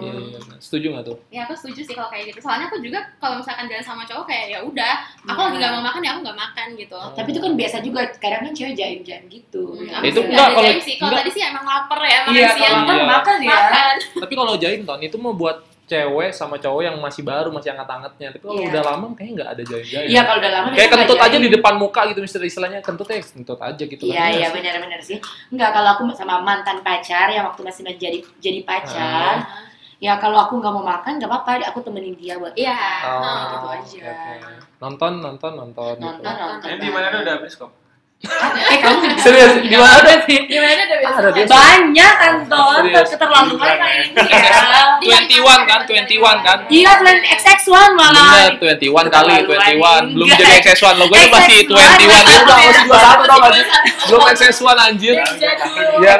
Speaker 1: Iya, iya, iya. setuju nggak tuh?
Speaker 2: ya aku setuju sih kalau kayak gitu soalnya aku juga kalau misalkan jalan sama cowok kayak ya udah aku
Speaker 3: Iya.
Speaker 2: lagi nggak mau makan ya aku nggak makan gitu
Speaker 3: tapi itu kan biasa juga kadang kan cewek jaim-jaim gitu
Speaker 2: Hmm,
Speaker 3: Ya,
Speaker 1: Iya. Itu
Speaker 2: aku sih
Speaker 1: enggak,
Speaker 2: nggak
Speaker 1: kalau-
Speaker 2: jaim sih kalau
Speaker 1: enggak.
Speaker 2: tadi sih emang lapar ya makan
Speaker 3: iya
Speaker 2: siang
Speaker 3: kalau makan
Speaker 1: Iya.
Speaker 3: makan ya
Speaker 2: makan
Speaker 1: Tapi kalau jaim ton itu mau buat cewek sama cowok yang masih baru masih anget-angetnya. Tapi kalau
Speaker 3: Iya.
Speaker 1: udah lama kayaknya nggak ada jaim-jaim.
Speaker 3: iya kalau udah lama
Speaker 1: Kayak
Speaker 3: kita nggak
Speaker 1: kentut aja
Speaker 3: jaim.
Speaker 1: di depan muka gitu misalnya istilahnya kentut ya kentut aja gitu
Speaker 3: Iya
Speaker 1: kan.
Speaker 3: iya benar-benar sih. Enggak kalau aku sama mantan pacar yang waktu masih menjadi jadi pacar,
Speaker 2: Ah.
Speaker 3: ya kalau aku nggak mau makan nggak apa-apa, aku temenin dia buat
Speaker 2: iya
Speaker 1: Oh,
Speaker 2: Nah,
Speaker 3: gitu
Speaker 1: oke,
Speaker 3: aja.
Speaker 1: oke. Nonton nonton nonton. gitu.
Speaker 3: nonton nonton.
Speaker 4: Ini di mana tuh udah habis kok?
Speaker 3: Eh kamu
Speaker 1: Serius gimana deh sih?
Speaker 2: gimana
Speaker 3: Iya.
Speaker 2: udah
Speaker 1: Ah,
Speaker 2: biasa
Speaker 1: ada biasa.
Speaker 3: banyak Anton,
Speaker 1: Serius.
Speaker 3: keterlaluan kali ini ya.
Speaker 1: 21 kan, 21 kan.
Speaker 3: Gila kalian XX1 malah.
Speaker 1: Bener, 21 kali, 21 Belum
Speaker 3: Enggak.
Speaker 1: jadi XS1, logonya masih 21
Speaker 3: XS1.
Speaker 1: Udah, masih 21 tau gak
Speaker 3: Iya.
Speaker 1: sih? Belum XS1 anjir Iya kan?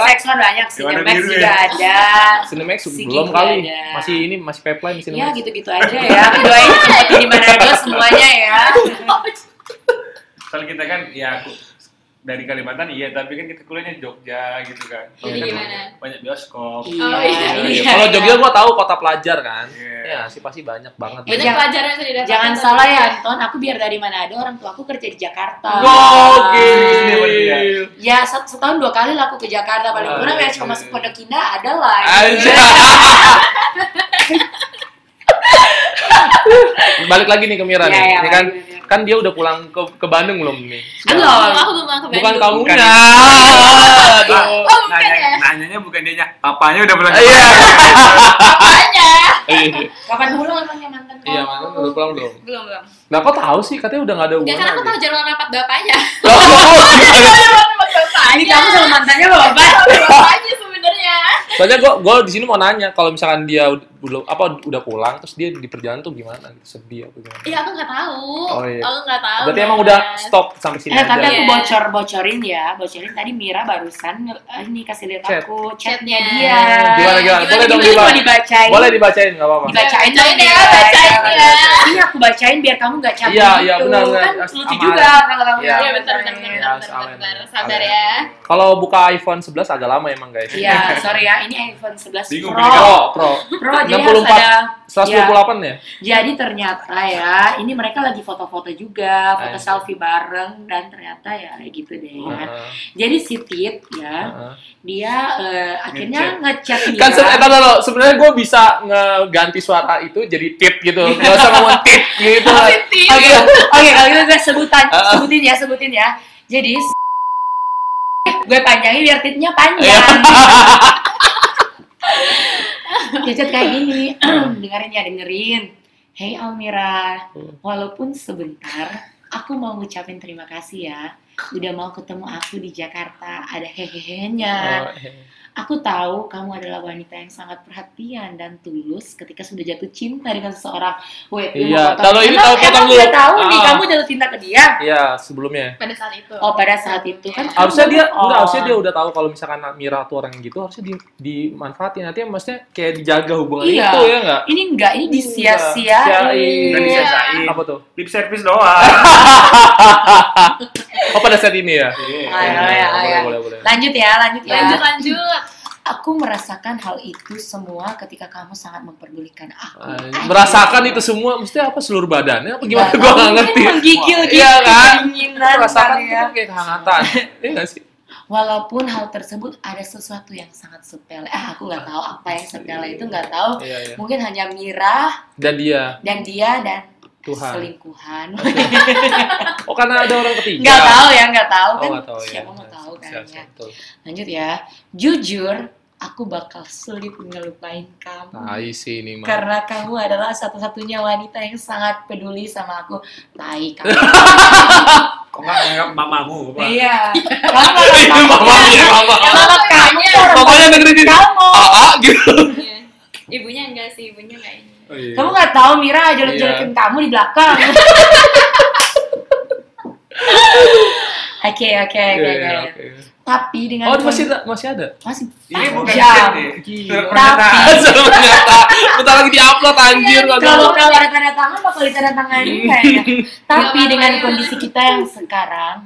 Speaker 3: XX1 banyak sih,
Speaker 4: Gimana
Speaker 3: Max
Speaker 4: biru
Speaker 3: juga
Speaker 4: ya?
Speaker 3: ada.
Speaker 1: Cinemax
Speaker 3: Sigi
Speaker 1: belum
Speaker 3: juga
Speaker 1: kali
Speaker 3: ada.
Speaker 1: Masih ini, masih pipeline
Speaker 3: Ya
Speaker 1: Cinemax
Speaker 3: gitu-gitu aja ya. Aku doain seperti di mana aja semuanya ya.
Speaker 4: Soalnya kita kan ya aku dari Kalimantan iya tapi kan kita kuliahnya Jogja gitu kan.
Speaker 2: Jadi gimana?
Speaker 4: Banyak bioskop.
Speaker 2: Oh, iya,
Speaker 1: Iya, Kalau Jogja gua tahu kota pelajar kan
Speaker 4: Iya.
Speaker 1: Ya sih pasti banyak banget
Speaker 3: Eh,
Speaker 2: banyak
Speaker 3: jangan-
Speaker 2: pelajaran yang sudah didapatkan
Speaker 3: Jangan
Speaker 2: tapi-
Speaker 3: salah ya Anton, aku biar dari mana ada orang tua aku kerja di Jakarta.
Speaker 1: Gokil
Speaker 3: Ya set- setahun dua kali lah aku ke Jakarta paling
Speaker 1: Ah,
Speaker 3: kurang ya
Speaker 4: iya.
Speaker 3: cuma masuk Pondok Indah ada lah.
Speaker 1: Aja. <laughs> Balik lagi nih ke Mira nih.
Speaker 3: Iya, iya,
Speaker 1: Ini kan
Speaker 3: balik, balik.
Speaker 1: kan dia udah pulang ke ke Bandung belum nih?
Speaker 2: aku
Speaker 3: Belum.
Speaker 2: belum aku belum ke
Speaker 1: Bukan
Speaker 2: Bandung.
Speaker 1: kamu
Speaker 4: Bukan.
Speaker 1: ya. Aduh.
Speaker 2: Oh, bukan ya?
Speaker 4: Iya. Nanya, nanyanya bukan dia papanya udah pulang.
Speaker 1: Iya.
Speaker 2: Apanya?
Speaker 3: Kapan pulang emangnya mantan kamu?
Speaker 1: Iya, mana udah pulang belum?
Speaker 2: belum belum
Speaker 1: Nah, kok tahu sih katanya udah enggak ada Oh,
Speaker 2: Enggak, kan aku tahu
Speaker 1: hubungan.
Speaker 2: jadwal rapat
Speaker 1: <laughs>
Speaker 2: bapaknya
Speaker 1: Loh, gimana?
Speaker 3: Ini kamu sama mantannya bapak
Speaker 2: bapaknya sebenarnya
Speaker 1: Soalnya gua gua di sini mau nanya kalau misalkan dia ud- belum apa udah pulang terus dia di perjalanan tuh gimana? Sedih apa gimana?
Speaker 2: iya aku nggak tahu
Speaker 1: Oh, iya.
Speaker 2: aku nggak tahu
Speaker 1: Berarti emang
Speaker 2: Mas.
Speaker 1: udah stop sampai sini
Speaker 3: Eh tapi
Speaker 1: aja.
Speaker 3: aku
Speaker 2: Iya.
Speaker 3: bocor bocorin ya, bocorin tadi Mira barusan nge- eh, ini kasih lihat
Speaker 1: Chat.
Speaker 3: aku
Speaker 2: Chatnya.
Speaker 3: chatnya dia.
Speaker 1: Gimana gimana?
Speaker 2: Gimana,
Speaker 1: Boleh dong
Speaker 3: Ini mau
Speaker 1: dibaca.
Speaker 3: dibacain.
Speaker 1: Boleh dibacain enggak apa-apa.
Speaker 3: Dibacain
Speaker 2: Bacain
Speaker 3: dong,
Speaker 2: ya,
Speaker 3: Mira.
Speaker 2: bacain ya.
Speaker 3: Ini aku bacain biar kamu nggak capek
Speaker 1: Iya,
Speaker 3: gitu.
Speaker 1: iya, benar, benar.
Speaker 3: Kan
Speaker 1: As-
Speaker 3: lucu
Speaker 1: sama
Speaker 3: juga
Speaker 1: Alex.
Speaker 3: kalau
Speaker 1: Iya.
Speaker 2: Iya, bentar, bentar, bentar, bentar,
Speaker 1: Harus
Speaker 2: bentar,
Speaker 1: awet.
Speaker 2: bentar. Sabar
Speaker 4: Iya.
Speaker 2: ya.
Speaker 1: Kalau buka iPhone 11 agak lama emang guys.
Speaker 3: Iya, sorry ya. Ini iPhone 11
Speaker 4: Bingung,
Speaker 3: Pro.
Speaker 1: Pro, pro.
Speaker 3: Pro jadi harus
Speaker 1: 64.
Speaker 3: ada
Speaker 1: 128 ya?
Speaker 3: Jadi ternyata ya, ini mereka lagi foto-foto juga, foto
Speaker 1: Ayo.
Speaker 3: selfie bareng dan ternyata ya gitu deh.
Speaker 1: Heeh,
Speaker 3: Jadi si Tit ya,
Speaker 1: heeh.
Speaker 3: dia eh, akhirnya ngechat dia.
Speaker 1: Kan se- eh, tahu, tahu. sebenarnya gue bisa ngeganti suara itu jadi tit gitu. Gak usah ngomong tit gitu.
Speaker 3: Oh,
Speaker 2: Tit.
Speaker 1: Oke,
Speaker 3: Oke, kalau gitu gue sebutan,
Speaker 1: Heeh.
Speaker 3: sebutin ya, sebutin ya. Jadi s- gue panjangin biar
Speaker 1: Iya.
Speaker 3: titnya panjang.
Speaker 1: <laughs>
Speaker 3: Cacat kayak gini, <clears throat> dengerin ya dengerin. Hey Almira, walaupun sebentar, aku mau ngucapin terima kasih ya. udah mau ketemu aku di Jakarta ada hehehenya
Speaker 1: Oh, eh.
Speaker 3: Aku tahu kamu adalah wanita yang sangat perhatian dan tulus ketika sudah jatuh cinta dengan seseorang. Wait, lu
Speaker 1: Iya,
Speaker 3: mau potong.
Speaker 1: taruh ini,
Speaker 3: Emang-
Speaker 1: taruh potong
Speaker 3: emang
Speaker 1: dulu.
Speaker 3: dia tahu nih
Speaker 1: Ah.
Speaker 3: kamu jatuh cinta ke dia.
Speaker 1: Iya, sebelumnya.
Speaker 2: pada saat itu
Speaker 3: Oh, pada saat itu kan
Speaker 2: Iya.
Speaker 1: Harusnya dia
Speaker 3: Oh.
Speaker 1: enggak, harusnya dia udah tahu kalau misalkan Mira tuh orang yang gitu harusnya di, dimanfaatin. Nanti maksudnya kayak dijaga hubungan
Speaker 3: Iya.
Speaker 1: itu ya enggak?
Speaker 3: Ini enggak, ini disia-siain.
Speaker 1: Iya.
Speaker 4: Nggak disiasain.
Speaker 1: Apa tuh?
Speaker 4: Lip service doang.
Speaker 1: Oh pada saat ini ya?
Speaker 3: Ayo,
Speaker 4: Iya.
Speaker 3: ayo,
Speaker 1: Boleh,
Speaker 3: ayo.
Speaker 1: boleh, boleh.
Speaker 3: Lanjut ya, lanjut ya.
Speaker 1: iya.
Speaker 2: lanjut
Speaker 1: <laughs>
Speaker 2: lanjut
Speaker 3: Aku merasakan hal itu semua ketika kamu sangat memperdulikan aku.
Speaker 1: Ay, Merasakan itu semua, mesti apa seluruh badannya apa gimana?
Speaker 3: Nggak
Speaker 1: Gua
Speaker 3: tahu,
Speaker 1: nggak
Speaker 3: mungkin
Speaker 1: ngerti.
Speaker 3: Menggigil
Speaker 1: Wah,
Speaker 3: gitu,
Speaker 1: iya kan?
Speaker 3: kedinginan
Speaker 1: Merasakan
Speaker 3: kali
Speaker 1: itu kan kayak kehangatan. <laughs> Iya nggak sih?
Speaker 3: Walaupun hal tersebut ada sesuatu yang sangat sepele. Ah, aku nggak tahu apa yang sepele itu nggak tahu.
Speaker 1: Iya, iya.
Speaker 3: Mungkin hanya Mira
Speaker 1: Dan dia,
Speaker 3: dan dia dan
Speaker 1: Tuhan.
Speaker 3: selingkuhan.
Speaker 1: Oh karena ada orang ketiga.
Speaker 3: <laughs> Nggak tahu ya, nggak tahu
Speaker 1: Oh,
Speaker 3: kan.
Speaker 1: nggak tahu ya.
Speaker 3: Siapa mau tahu
Speaker 1: Siap,
Speaker 3: kan
Speaker 1: siap,
Speaker 3: ya.
Speaker 1: betul.
Speaker 3: Lanjut ya. Jujur, aku bakal sulit ngelupain kamu.
Speaker 1: Tai sih ini <laughs> mah.
Speaker 3: Karena kamu adalah satu-satunya wanita yang sangat peduli sama aku. Tai
Speaker 1: <laughs>
Speaker 3: kamu.
Speaker 4: Kok nggak nganggap mamamu? Bapak?
Speaker 3: Iya. Kamu nggak
Speaker 1: Iya, mama, iya, mama.
Speaker 3: Kalau kamu tuh orang
Speaker 1: Pokoknya dengerin ini.
Speaker 3: kamu.
Speaker 1: Ah, gitu.
Speaker 2: Iya. ibunya enggak sih ibunya enggak ini
Speaker 1: Oh, iya.
Speaker 3: Kamu nggak tahu Mira jelek-jelekin kamu di
Speaker 1: <laughs>
Speaker 3: belakang. Oke oke oke
Speaker 1: Iya,
Speaker 3: oke.
Speaker 1: oke.
Speaker 3: Tapi dengan
Speaker 1: Oh masih ada, masih ada. <laughs>
Speaker 3: masih
Speaker 4: Ini bukan
Speaker 3: jam.
Speaker 4: ini.
Speaker 1: Gila.
Speaker 4: Pernyataan.
Speaker 1: Iya. ternyata bentar lagi diupload anjir
Speaker 3: Iya,
Speaker 1: Iya.
Speaker 3: Kalau kalau ada tanda tangan bakal ditanda tanganin
Speaker 1: <laughs>
Speaker 3: kayaknya. Tapi
Speaker 2: apa-apa
Speaker 3: dengan
Speaker 2: ya.
Speaker 3: kondisi kita yang sekarang,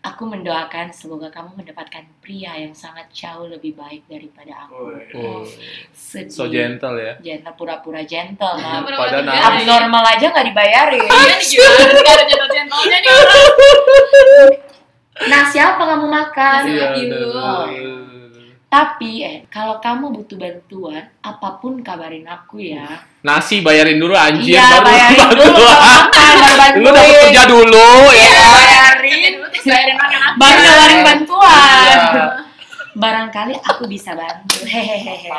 Speaker 3: aku mendoakan semoga kamu mendapatkan pria yang sangat jauh lebih baik daripada aku.
Speaker 1: Oh,
Speaker 3: Sedih.
Speaker 1: so Iya. gentle ya.
Speaker 3: Gentle, pura-pura gentle.
Speaker 2: Pura-pura
Speaker 3: Mam.
Speaker 1: Padahal
Speaker 2: tiga.
Speaker 1: nangis.
Speaker 3: Abnormal aja nggak dibayarin.
Speaker 2: Iya nih gimana sih ada jatuh jantungnya nih orang
Speaker 1: Iya.
Speaker 3: Nah siapa kamu makan?
Speaker 2: Nasi
Speaker 1: Iya,
Speaker 2: lagi
Speaker 1: bener,
Speaker 2: lu.
Speaker 1: bener, bener.
Speaker 3: Tapi eh kalau kamu butuh bantuan, apapun kabarin aku ya.
Speaker 1: Nasi bayarin dulu anjir
Speaker 3: Iya,
Speaker 1: baru
Speaker 3: bayarin
Speaker 1: <laughs> baru
Speaker 3: dulu,
Speaker 1: doang.
Speaker 3: makan, baru bantuin.
Speaker 1: Lu dapat kerja dulu ya.
Speaker 2: Kerja
Speaker 3: Bayarin,
Speaker 2: dulu terus bayarin makan aku
Speaker 3: baru nawarin bantuan.
Speaker 1: Iya.
Speaker 3: Barangkali aku bisa bantu. Hehehe.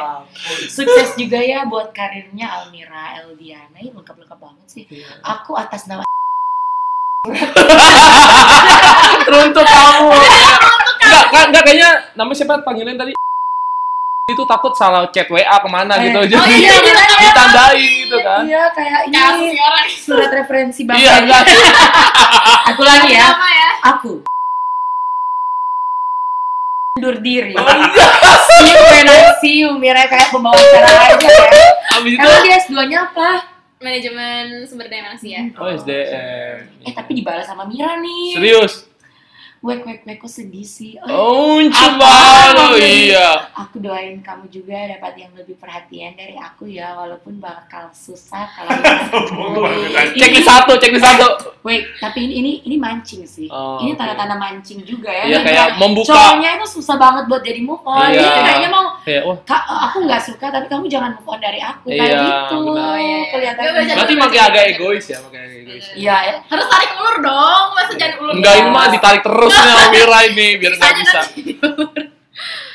Speaker 3: Sukses juga ya buat karirnya Almira Eldiana. Ih, lengkap-lengkap banget sih. Aku atas nama <laughs>
Speaker 1: Teruntuk kamu. Enggak, enggak, enggak kayaknya nama siapa panggilan tadi? Itu takut salah chat WA kemana gitu.
Speaker 3: Eh,
Speaker 1: Jadi <laughs>
Speaker 3: iya, iya, iya.
Speaker 1: ditandain gitu kan. ya.
Speaker 3: Iya, kayak
Speaker 2: kasih
Speaker 3: ini
Speaker 2: orang
Speaker 3: surat referensi bank.
Speaker 1: Iya, enggak. <laughs>
Speaker 3: Aku lagi ya.
Speaker 2: Apa ya
Speaker 3: Aku mundur diri.
Speaker 1: Oh, iya.
Speaker 3: Siu, penasiu, Mira kayak pembawa acara aja ya.
Speaker 1: Habis itu
Speaker 3: Emang dia S2-nya apa?
Speaker 2: manajemen sumber daya manusia
Speaker 1: Oh,
Speaker 4: iya.
Speaker 1: SDM.
Speaker 3: Eh, tapi dibalas sama Mira nih.
Speaker 1: Serius?
Speaker 3: Wek, wek, wek, kok sedih sih? Oh,
Speaker 1: Oh,
Speaker 3: Apaan
Speaker 1: coba lu
Speaker 3: ini?
Speaker 1: iya.
Speaker 3: Aku doain kamu juga dapat yang lebih perhatian dari aku ya, walaupun bakal susah kalau
Speaker 4: Sombong banget.
Speaker 1: Cek di satu, cek di
Speaker 3: <laughs>
Speaker 1: satu.
Speaker 3: Wait, tapi ini ini, ini mancing sih.
Speaker 1: Oh,
Speaker 3: ini
Speaker 1: oke.
Speaker 3: tanda-tanda mancing juga ya.
Speaker 1: Iya
Speaker 3: Ini
Speaker 1: kayak membuka.
Speaker 3: Cowoknya itu susah banget buat jadi move on.
Speaker 1: Iya.
Speaker 3: Jadi kayaknya mau
Speaker 1: Kayak wah,
Speaker 3: "Ka- aku nggak suka tapi kamu jangan move on dari aku kayak
Speaker 1: Iya,
Speaker 3: gitu.
Speaker 1: benar.
Speaker 2: Oh, iya, iya.
Speaker 3: Kelihatan.
Speaker 2: Gue baca-
Speaker 1: berarti makin agak egois ya, makin agak egois. ya.
Speaker 3: Iya, ya.
Speaker 2: harus tarik ulur dong masa jangan ulur ya?
Speaker 1: Enggak ini mah ditarik terus nih sama Mira ini biar
Speaker 2: Bisa
Speaker 1: nggak
Speaker 2: aja
Speaker 1: bisa.
Speaker 2: nanti.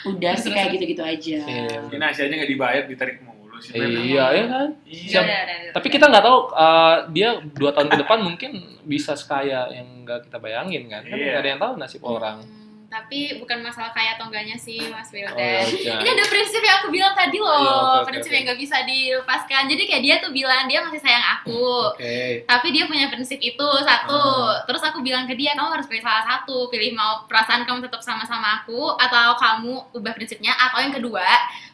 Speaker 3: udah sih
Speaker 2: Terus,
Speaker 3: kayak gitu-gitu aja.
Speaker 1: Iya.
Speaker 4: Ini Asianya nggak dibayar, ditarik mulu sih. memang.
Speaker 1: Iya, ya kan?
Speaker 4: Iya.
Speaker 1: Siap.
Speaker 2: Udah, udah, udah.
Speaker 1: Tapi kita nggak tahu eh, dia dua tahun ke depan mungkin bisa sekaya yang nggak kita bayangin kan? Kan
Speaker 4: Iya.
Speaker 1: nggak ada yang tahu nasib orang.
Speaker 2: Hmm, tapi bukan masalah kaya atau enggaknya sih
Speaker 1: Oh,
Speaker 2: Mas Wildan
Speaker 1: iya.
Speaker 2: Ini ada prinsip yang aku bilang tadi loh,
Speaker 1: Iya, oke, oke,
Speaker 2: prinsip
Speaker 1: oke.
Speaker 2: yang gak bisa dilepaskan. Jadi kayak dia tuh bilang dia masih sayang aku,
Speaker 1: Oke. Ah.
Speaker 2: tapi dia punya prinsip itu satu. Terus aku bilang ke dia kamu harus pilih salah satu, pilih mau perasaan kamu tetap sama-sama aku atau kamu ubah prinsipnya atau yang kedua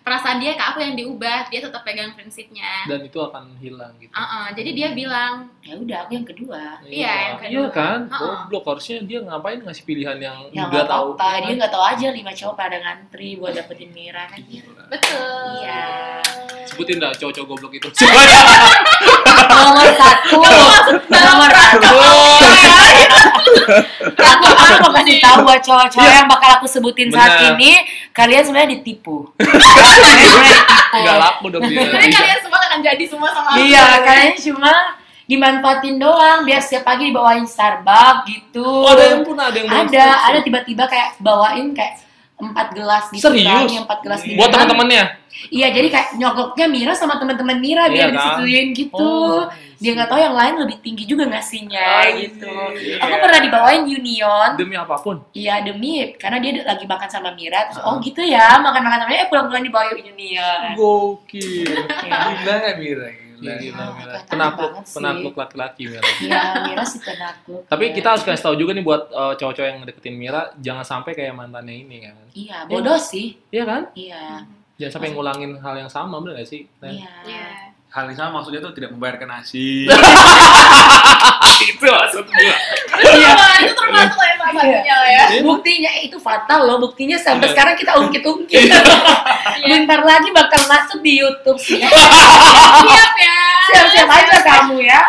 Speaker 2: perasaan dia ke aku yang diubah, dia tetap pegang prinsipnya.
Speaker 1: Dan itu akan hilang gitu.
Speaker 2: Uh-uh, jadi dia bilang
Speaker 3: Ya udah aku yang kedua.
Speaker 2: Iya, yang kedua.
Speaker 1: Iya kan?
Speaker 2: Heeh.
Speaker 1: Goblok harusnya dia ngapain ngasih pilihan yang
Speaker 3: Ya
Speaker 1: udah
Speaker 3: nggak
Speaker 1: tahu.
Speaker 3: apa-apa, dia nggak tahu aja lima cowok pada ngantri buat dapetin Mira kan. Iya.
Speaker 2: betul.
Speaker 3: Iya.
Speaker 1: Sebutin dah cowok-cowok goblok itu. Semuanya.
Speaker 3: nomor satu nomor satu aku aku mau kasih tahu buat cowok-cowok yang bakal aku sebutin saat
Speaker 1: Iya. Benar.
Speaker 3: ini kalian sebenarnya
Speaker 1: <laughs>
Speaker 3: ditipu
Speaker 1: Nggak laku dong dia.
Speaker 2: Sebenarnya kalian semua akan jadi semua sama aku.
Speaker 3: iya kalian cuma dimanfaatin doang biar setiap pagi dibawain Starbucks gitu
Speaker 1: Oh, ada yang pun ada yang
Speaker 3: ada ada tiba-tiba kayak bawain kayak empat gelas gitu
Speaker 1: Serius?
Speaker 3: kan, empat gelas gitu
Speaker 1: Buat
Speaker 3: kan.
Speaker 1: teman-temannya.
Speaker 3: Iya, jadi kayak nyogoknya Mira sama teman-teman Mira
Speaker 1: Iya,
Speaker 3: biar
Speaker 1: kan?
Speaker 3: disetujuin gitu.
Speaker 1: Oh,
Speaker 3: Dia nggak tahu yang lain lebih tinggi juga
Speaker 2: Oh,
Speaker 3: ngasihnya gitu.
Speaker 4: Iya.
Speaker 3: Aku pernah dibawain Union.
Speaker 1: demi apapun.
Speaker 3: Iya demi karena dia lagi makan sama Mira terus oh gitu ya makan makan sama dia eh pulang-pulang dibawa Union.
Speaker 4: Gokil.
Speaker 3: Iya.
Speaker 4: Gila nggak Mira? Gila.
Speaker 1: Gila, gila,
Speaker 3: Ah,
Speaker 1: gila.
Speaker 3: keren
Speaker 1: Penakluk,
Speaker 3: banget sih.
Speaker 1: penakluk laki-laki Mira.
Speaker 3: Iya Mira sih penakut.
Speaker 1: Tapi
Speaker 3: Iya.
Speaker 1: kita harus kasih tahu juga nih buat eh, cowok-cowok yang deketin Mira, jangan sampai kayak mantannya ini kan.
Speaker 3: Iya bodoh sih.
Speaker 1: Iya kan?
Speaker 3: Iya.
Speaker 1: Jangan sampai ngulangin hal yang sama, bener gak sih? Nah,
Speaker 3: Iya.
Speaker 2: Iya.
Speaker 4: Hal yang sama maksudnya tuh tidak membayarkan <laughs> nasi.
Speaker 1: <laughs> itu maksud gua.
Speaker 2: Wah, Iya. itu termasuk lah yang salah satunya lah ya.
Speaker 3: Iya. Buktinya eh, itu fatal loh buktinya sampai
Speaker 1: Iya.
Speaker 3: sekarang kita ungkit-ungkit.
Speaker 2: Iya.
Speaker 3: Bentar lagi bakal masuk di YouTube sih. ya.
Speaker 2: Siap ya.
Speaker 3: Siap-siap aja kamu ya.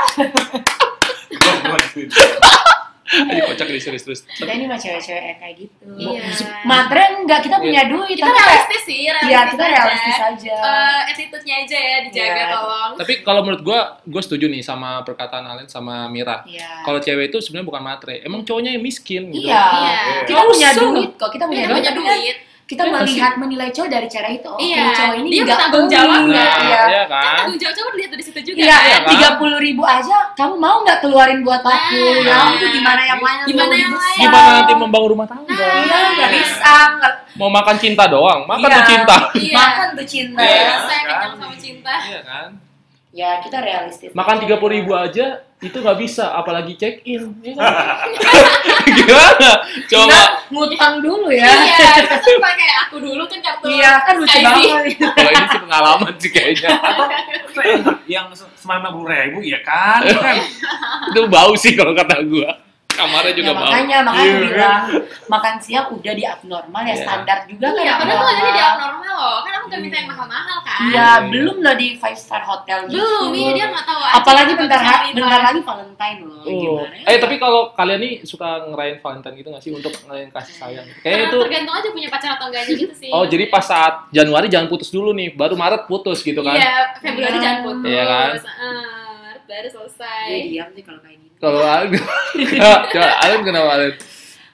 Speaker 1: Ayo kocak deh, serius terus.
Speaker 3: Kita ini mah cewek-cewek yang kayak gitu.
Speaker 2: Iya.
Speaker 3: Materi enggak kita punya
Speaker 1: Iya.
Speaker 3: duit.
Speaker 2: Kita
Speaker 3: tapi kayak-
Speaker 2: realistis sih, realistis.
Speaker 3: Iya kita
Speaker 2: aja.
Speaker 3: realistis aja.
Speaker 2: Eh, attitude-nya aja ya dijaga
Speaker 3: Iya.
Speaker 2: tolong.
Speaker 1: Tapi kalau menurut gua, gua setuju nih sama perkataan Alen sama Mira.
Speaker 3: Iya.
Speaker 1: Kalau cewek itu sebenarnya bukan matre, emang cowoknya yang miskin gitu.
Speaker 3: Iya.
Speaker 2: Iya.
Speaker 3: Kita
Speaker 1: Langsung.
Speaker 3: punya duit kok. Kita punya
Speaker 2: Iya,
Speaker 3: duit.
Speaker 2: punya
Speaker 3: tapi kan
Speaker 2: duit.
Speaker 3: kita
Speaker 1: Iya,
Speaker 3: melihat menilai cowok dari cara itu. Oke,
Speaker 2: Iya,
Speaker 3: cowok ini
Speaker 2: dia
Speaker 3: nggak
Speaker 2: bertanggung
Speaker 3: peduli.
Speaker 2: jawab
Speaker 1: Nah,
Speaker 2: nggak?
Speaker 3: Iya.
Speaker 1: iya
Speaker 2: Kan
Speaker 1: kan?
Speaker 2: tanggung jawab dilihat dari situ juga.
Speaker 3: Iya,
Speaker 1: Iya, kan?
Speaker 3: tiga puluh ribu aja. Kamu mau nggak keluarin buat aku?
Speaker 2: Nah.
Speaker 3: Ya ampun, gimana yang lain?
Speaker 2: Gimana yang
Speaker 3: Bisa.
Speaker 2: lain?
Speaker 1: Gimana nanti membangun rumah tangga?
Speaker 3: Iya, nggak bisa. Nggak.
Speaker 1: Mau makan cinta doang, makan
Speaker 3: Iya.
Speaker 1: tuh cinta.
Speaker 2: Iya.
Speaker 3: Makan tuh cinta.
Speaker 2: Iya,
Speaker 4: Iya,
Speaker 2: saya
Speaker 4: kan?
Speaker 2: kenyang sama cinta.
Speaker 1: Iya kan?
Speaker 3: Ya kita realistis.
Speaker 1: Makan tiga puluh ribu aja itu nggak bisa, apalagi check in. Iya kan? Gimana? Coba.
Speaker 3: Kita ngutang dulu ya.
Speaker 2: Iya, kita tuh pakai aku dulu kan kartu.
Speaker 3: Iya kan lucu
Speaker 2: Skype.
Speaker 3: banget.
Speaker 1: Kalau ini sih pengalaman sih kayaknya.
Speaker 4: yang sembilan puluh ribu ya kan? Kan?
Speaker 1: Itu bau sih kalau kata gua. Kamarnya juga
Speaker 3: Ya,
Speaker 1: bau.
Speaker 3: makanya, makanya
Speaker 1: Iya,
Speaker 3: aku
Speaker 1: kan?
Speaker 3: bilang makan siang udah di abnormal ya
Speaker 1: Iya.
Speaker 3: standar juga kan.
Speaker 2: Iya, padahal tuh
Speaker 3: abnormal.
Speaker 2: ada di abnormal loh. Kan aku nggak minta yang mahal-mahal kan.
Speaker 3: Iya, belum loh di five star hotel gitu.
Speaker 2: Belum, iya dia nggak tahu. aja.
Speaker 3: Apalagi
Speaker 2: Nggak
Speaker 3: bentar,
Speaker 2: bisa
Speaker 3: ha-
Speaker 2: cerita.
Speaker 3: bentar lagi Valentine
Speaker 1: Oh.
Speaker 3: loh. Gimana? ya?
Speaker 1: Eh tapi kalau kalian nih suka ngerayain Valentine gitu nggak sih untuk ngerayain kasih sayang? Kayaknya
Speaker 2: Karena
Speaker 1: itu
Speaker 2: Nah, tergantung aja punya pacar atau enggaknya gitu sih.
Speaker 1: Oh, jadi pas saat Januari jangan putus dulu nih, baru Maret putus gitu kan.
Speaker 2: Iya, Februari
Speaker 3: Iya.
Speaker 2: jangan putus.
Speaker 1: Iya kan?
Speaker 2: Eh, Maret baru selesai.
Speaker 3: Dia diam sih kalau kayak gini.
Speaker 2: <laughs>
Speaker 1: Kalau Alan, Coba, Alan kenapa Alan?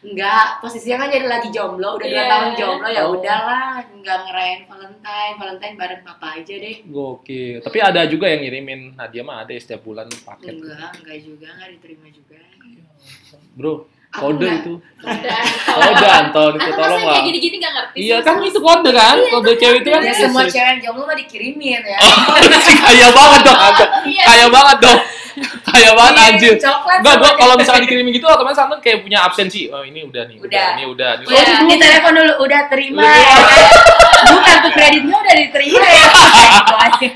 Speaker 3: Enggak, posisinya kan jadi lagi jomblo, udah dua
Speaker 2: Iya.
Speaker 3: tahun jomblo ya
Speaker 1: Oh.
Speaker 3: udahlah, nggak ngerayain Valentine, Valentine bareng papa aja deh.
Speaker 1: Gokil. Tapi ada juga yang ngirimin hadiah mah ada ya setiap bulan paket.
Speaker 3: Enggak, enggak juga, enggak diterima juga.
Speaker 1: Bro,
Speaker 3: Aku
Speaker 1: kode
Speaker 3: nggak-
Speaker 1: itu.
Speaker 2: Dan
Speaker 1: Kode Anton itu
Speaker 2: aku
Speaker 1: gitu tolong lah.
Speaker 2: rasanya kayak Iya, gini-gini nggak ngerti.
Speaker 1: Iya
Speaker 2: sih,
Speaker 1: kan
Speaker 2: sama-
Speaker 1: itu kode kan? Kode cewek itu kan.
Speaker 3: Ya semua cewek yang jomblo mah dikirimin ya.
Speaker 1: Oh, Anjing, <laughs> kaya banget dong, Anton.
Speaker 2: Iya.
Speaker 1: Kaya banget dong. Kaya banget
Speaker 3: Kirim
Speaker 1: anjir.
Speaker 3: Coklat.
Speaker 1: Enggak,
Speaker 3: sama
Speaker 1: gua
Speaker 3: dia.
Speaker 1: kalau misalnya dikirimin gitu otomatis Anton kayak punya absensi. Oh, ini udah nih, udah,
Speaker 3: Udah.
Speaker 1: ini udah. Ini
Speaker 3: Oh,
Speaker 1: udah.
Speaker 2: Iya.
Speaker 3: di telepon dulu udah terima
Speaker 1: Udah.
Speaker 3: ya. Bukan tuh kreditnya udah diterima
Speaker 1: <laughs>
Speaker 3: ya. Itu aja.